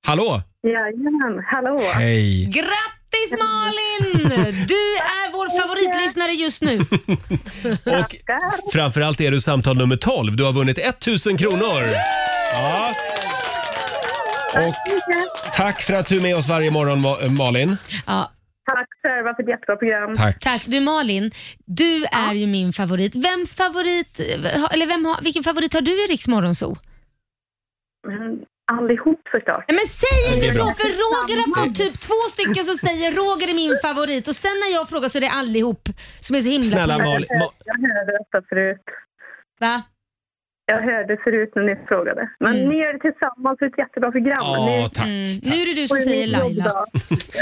S1: Hallå!
S5: Jajamän, hallå.
S1: Hej!
S2: Grattis Malin! Du är vår favoritlyssnare just nu.
S1: Och framförallt är du samtal nummer 12. Du har vunnit 1000 kronor. Ja. Och tack för att du är med oss varje morgon Ma- eh, Malin.
S2: Ja,
S5: Tack själva för ett jättebra program.
S1: Tack.
S2: tack. Du Malin, du är ju min favorit. Vems favorit, eller vem har, vilken favorit har du i Riks Morgonzoo?
S5: Mm, Allihop såklart.
S2: Nej, men säg
S1: Det är
S2: inte så,
S1: bra.
S2: för Roger har fått typ två stycken som säger Roger är min favorit och sen när jag frågar så är det allihop som är så himla
S1: Snälla
S2: på-
S1: Malin. Ma-
S5: Jag hörde detta förut.
S2: Va?
S5: Jag hörde förut när ni frågade. Men ni gör det tillsammans, det är ett jättebra program.
S1: Mm. Ja,
S5: ni
S1: tack.
S2: Mm. Nu är det du som säger Laila.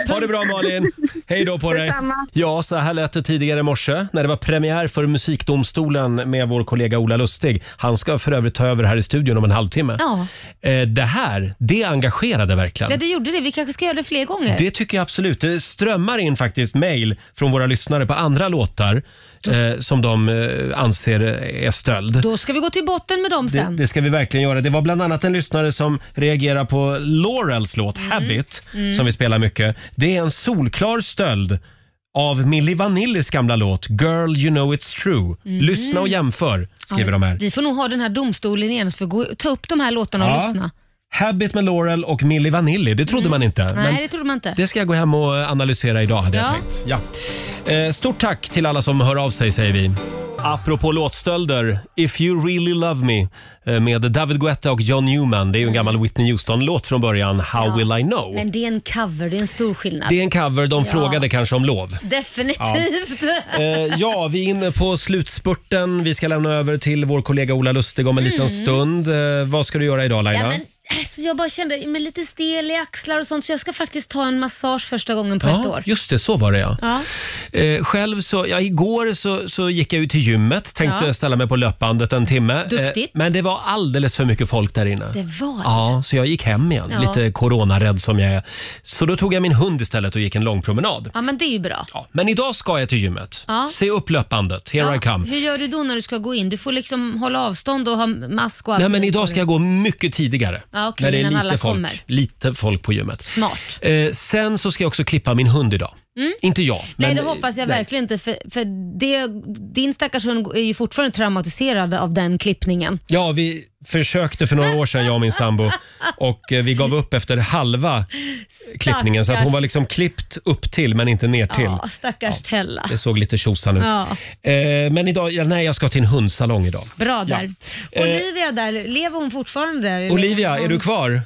S1: Ha det bra Malin! Hej då på dig!
S5: Detsamma.
S1: Ja, så här lät det tidigare i morse när det var premiär för Musikdomstolen med vår kollega Ola Lustig. Han ska för övrigt ta över här i studion om en halvtimme.
S2: Ja.
S1: Eh, Det här, det engagerade verkligen.
S2: ja, det gjorde det. Vi kanske ska göra det fler gånger.
S1: Det tycker jag absolut. Det strömmar in faktiskt mejl från våra lyssnare på andra låtar eh, som de eh, anser är stöld.
S2: Då ska vi gå till botten med dem
S1: Det,
S2: sen.
S1: det ska vi verkligen göra. Det var bland annat en lyssnare som reagerar på Laurels låt
S2: Mm.
S1: Habit som vi spelar mycket. Det är en solklar stöld av Milli Vanillis gamla låt Girl you know it's true.
S2: Mm.
S1: Lyssna och jämför, skriver de här.
S2: Vi får nog ha den här domstolen igen för att gå, ta upp de här låtarna och
S1: Ja.
S2: lyssna.
S1: Habit med Laurel och Milli Vanilli, det trodde man inte.
S2: Mm. Nej,
S1: men
S2: det trodde man inte.
S1: det ska jag gå hem och analysera idag hade jag
S2: Ja.
S1: tänkt. Ja. Eh, Stort tack till alla som hör av sig säger vi. Apropå låtstölder, If you really love me eh, med David Guetta och John Newman. Det är ju en gammal Whitney Houston-låt från början, How will I know?
S2: Men det är en cover, det är en stor skillnad.
S1: Det är en cover, de frågade kanske om lov.
S2: Definitivt.
S1: Eh, ja, vi är inne på slutspurten. Vi ska lämna över till vår kollega Ola Lustig om en liten stund. Eh, vad ska du göra idag Laila?
S2: Mm. Ja, men, alltså, jag bara kände mig lite stel i axlar och sånt så jag ska faktiskt ta en massage första gången på ett
S1: Ja,
S2: år.
S1: just det, så var det ja.
S2: Ja.
S1: Eh, själv så, ja, igår så, så gick jag ut till gymmet, tänkte
S2: Ja.
S1: ställa mig på löpbandet en timme. Eh,
S2: Duktigt.
S1: men det var alldeles för mycket folk där inne.
S2: Det var det.
S1: Ja, så jag gick hem igen,
S2: Ja.
S1: lite coronarädd som jag är. Så då tog jag min hund istället och gick en lång promenad.
S2: Ja, men det är ju bra.
S1: Ja, men idag ska jag till gymmet.
S2: Ja.
S1: Se upp löpbandet, here I come.
S2: Hur gör du då när du ska gå in? Du får liksom hålla avstånd och ha mask och allt.
S1: Nej, men idag ska jag gå mycket tidigare.
S2: Ja, okej,
S1: när det är
S2: innan
S1: lite
S2: alla
S1: folk,
S2: kommer.
S1: lite folk på gymmet.
S2: Smart.
S1: Eh, sen så ska jag också klippa min hund idag. Inte jag.
S2: Mm.
S1: men-
S2: Nej, det hoppas jag
S1: nej.
S2: verkligen inte. För, för det, din stackars hund är ju fortfarande traumatiserad av den klippningen.
S1: Ja, vi försökte för några år sedan, jag och min sambo. Och eh, vi gav upp efter halva klippningen. Så att hon var liksom klippt upp till men inte ner till.
S2: Ja, stackars Tella.
S1: Det såg lite tjosan ut.
S2: Ja.
S1: Eh, men idag, ja, nej jag ska till en hundsalong idag.
S2: Bra där.
S1: Eh,
S2: Olivia där, lever hon fortfarande där? Eller-
S1: Olivia, är du kvar?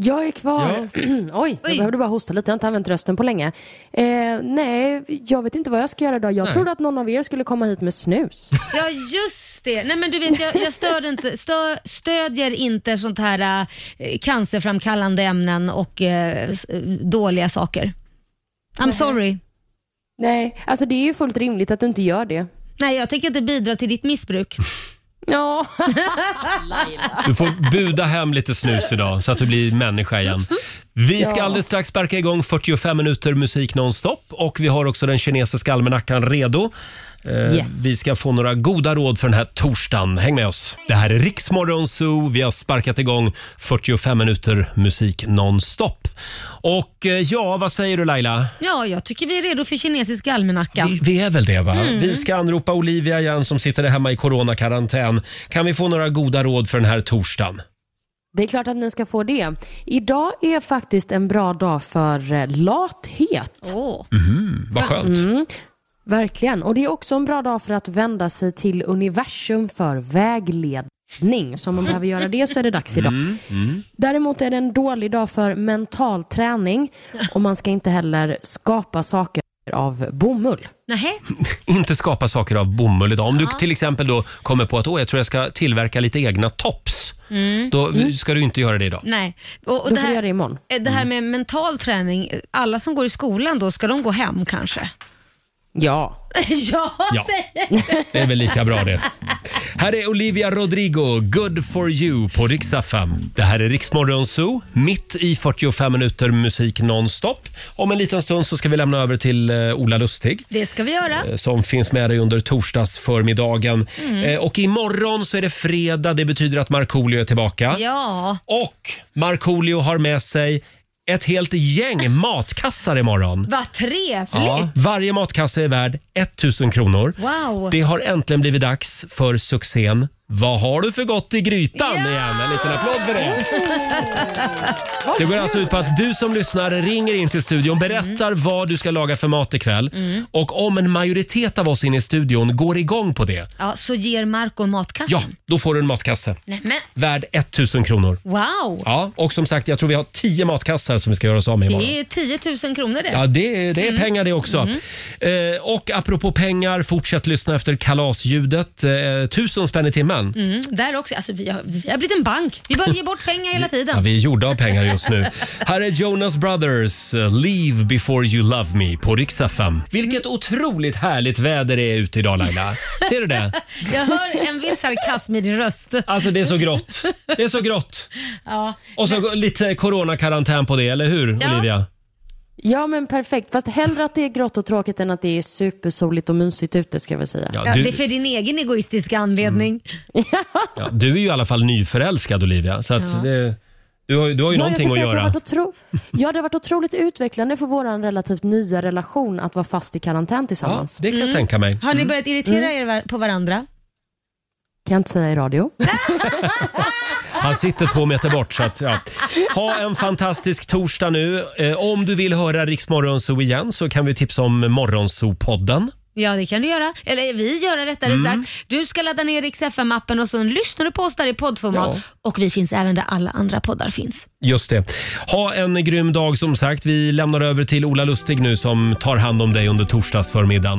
S3: Jag är kvar. Oj, jag
S2: Oj.
S3: behövde bara hosta lite. Jag har inte använt rösten på länge. Eh, nej, jag vet inte vad jag ska göra idag. Jag trodde att någon av er skulle komma hit med snus.
S2: Ja, just det. Nej, men du vet, jag, jag stöd inte, stö, stödjer inte sånt här eh, cancerframkallande ämnen och eh, s- eh, dåliga saker. I'm sorry.
S3: nej, alltså det är ju fullt rimligt att du inte gör det.
S2: Nej, jag tänker inte bidra till ditt missbruk.
S3: Ja,
S1: Du får buda hem lite snus idag så att du blir människa igen. Vi ska
S3: Ja.
S1: alldeles strax sparka igång 45 minuter musik nonstop och vi har också den kinesiska almanackan redo. Eh,
S3: Yes.
S1: Vi ska få några goda råd för den här torsdagen. Häng med oss. Det här är Riksmorgon Zoo. Vi har sparkat igång 45 minuter musik nonstop. Och eh, ja, vad säger du Laila?
S2: Ja, jag tycker vi är redo för kinesisk almanacka.
S1: Vi, vi är väl det va?
S3: Mm.
S1: Vi ska anropa Olivia igen som sitter där hemma i coronakarantän. Kan vi få några goda råd för den här torsdagen?
S3: det är klart att ni ska få det. Idag är faktiskt en bra dag för eh, lathet.
S2: Åh,
S1: Vad skönt.
S3: Verkligen. Och det är också en bra dag för att vända sig till universum för vägledning. Så om man behöver göra det så är det dags idag. Däremot är det en dålig dag för mental träning och man ska inte heller skapa saker av bomull.
S2: nähä?
S1: inte skapa saker av bomull idag. Om du till exempel då kommer på att Åh, jag tror jag ska tillverka lite egna tops. Då ska du inte göra det idag.
S2: Nej. Och, och
S3: Då
S2: det,
S3: får du göra
S2: här,
S3: det imorgon.
S2: eh, det här med mental träning, alla som går i skolan då, ska de gå hem kanske?
S3: Ja.
S2: ja,
S1: Ja.
S2: säger
S1: Det är väl lika bra det. Här är Olivia Rodrigo, Good for you på Riksdag 5. Det här är Riksmorgon Zoo, mitt i 45 minuter musik nonstop. Om en liten stund så ska vi lämna över till eh, Ola Lustig.
S2: Det ska vi göra.
S1: som finns med dig under torsdagsförmiddagen. Eh, och imorgon så är det fredag. Det betyder att Markoolio är tillbaka.
S2: Ja,
S1: Och Markoolio har med sig ett helt gäng matkassar imorgon.
S2: vad trevligt.
S1: Ja, varje matkasse är värd 1000 kronor.
S2: Wow.
S1: Det har äntligen blivit dags för succén Vad har du för gott i grytan igen? En liten applåd för det. Det går alltså ut på att du som lyssnar ringer in till studion, berättar vad du ska laga för mat ikväll. Och om en majoritet av oss inne i studion går igång på det,
S2: Ja, så ger Marco matkassen?
S1: ja, då får du en matkasse.
S2: Nej, men,
S1: Värd 1000 kronor.
S2: wow!
S1: Ja, och som sagt, jag tror vi har 10 matkassar som vi ska göra oss av med imorgon.
S2: Det är 10 000 kronor det. Mm.
S1: Ja, det, det är pengar det också. Eh, och apropå pengar, fortsätt lyssna efter kalasljudet. Eh, tusen spänn i timmen.
S2: Mm, där också. Alltså, vi, har, vi har blivit en bank. Vi bara ger bort pengar hela
S1: Ja,
S2: tiden.
S1: vi är gjorda av pengar just nu. Här är Jonas Brothers, eh, Leave before you love me på Rix FM. Vilket otroligt härligt väder det är ute idag Laila. Ser du det?
S2: Jag hör en viss sarkasm i din röst.
S1: Alltså det är så grått. Det är så grått.
S2: Ja.
S1: Och så lite coronakarantän på det, eller hur
S2: Ja.
S1: Olivia?
S3: Ja men perfekt, fast hellre att det är grått och tråkigt än att det är supersoligt och mysigt ute ska jag väl säga.
S1: Ja,
S2: Ja,
S1: du, Mm.
S2: Det är för din egen egoistiska anledning.
S1: ja, du är ju i alla fall nyförälskad Olivia. Så att det, du, har, ju- du har ju
S3: Ja, jag
S1: någonting
S3: kan
S1: att
S3: säga det
S1: göra.
S3: har varit otro... Ja, det har varit otroligt utvecklande för vår relativt nya relation att vara fast i karantän
S1: Ja,
S3: tillsammans.
S1: det kan jag tänka mig.
S2: Har ni börjat irritera
S1: Mm.
S2: er var- på varandra?
S3: Kan jag inte säga i radio.
S1: Han sitter två meter bort. Så att, ja. Ha en fantastisk torsdag nu. Eh, om du vill höra Rix Morgonzoo igen så kan vi tipsa om Morgonzoo-podden.
S2: Ja, det kan du göra. Eller vi gör det rättare
S1: Mm.
S2: sagt. Du ska ladda ner Rix FM-appen och så lyssnar du på oss där i poddformat. Och vi finns även där alla andra poddar finns.
S1: Just det. Ha en grym dag som sagt. Vi lämnar över till Ola Lustig nu som tar hand om dig under torsdagsförmiddagen.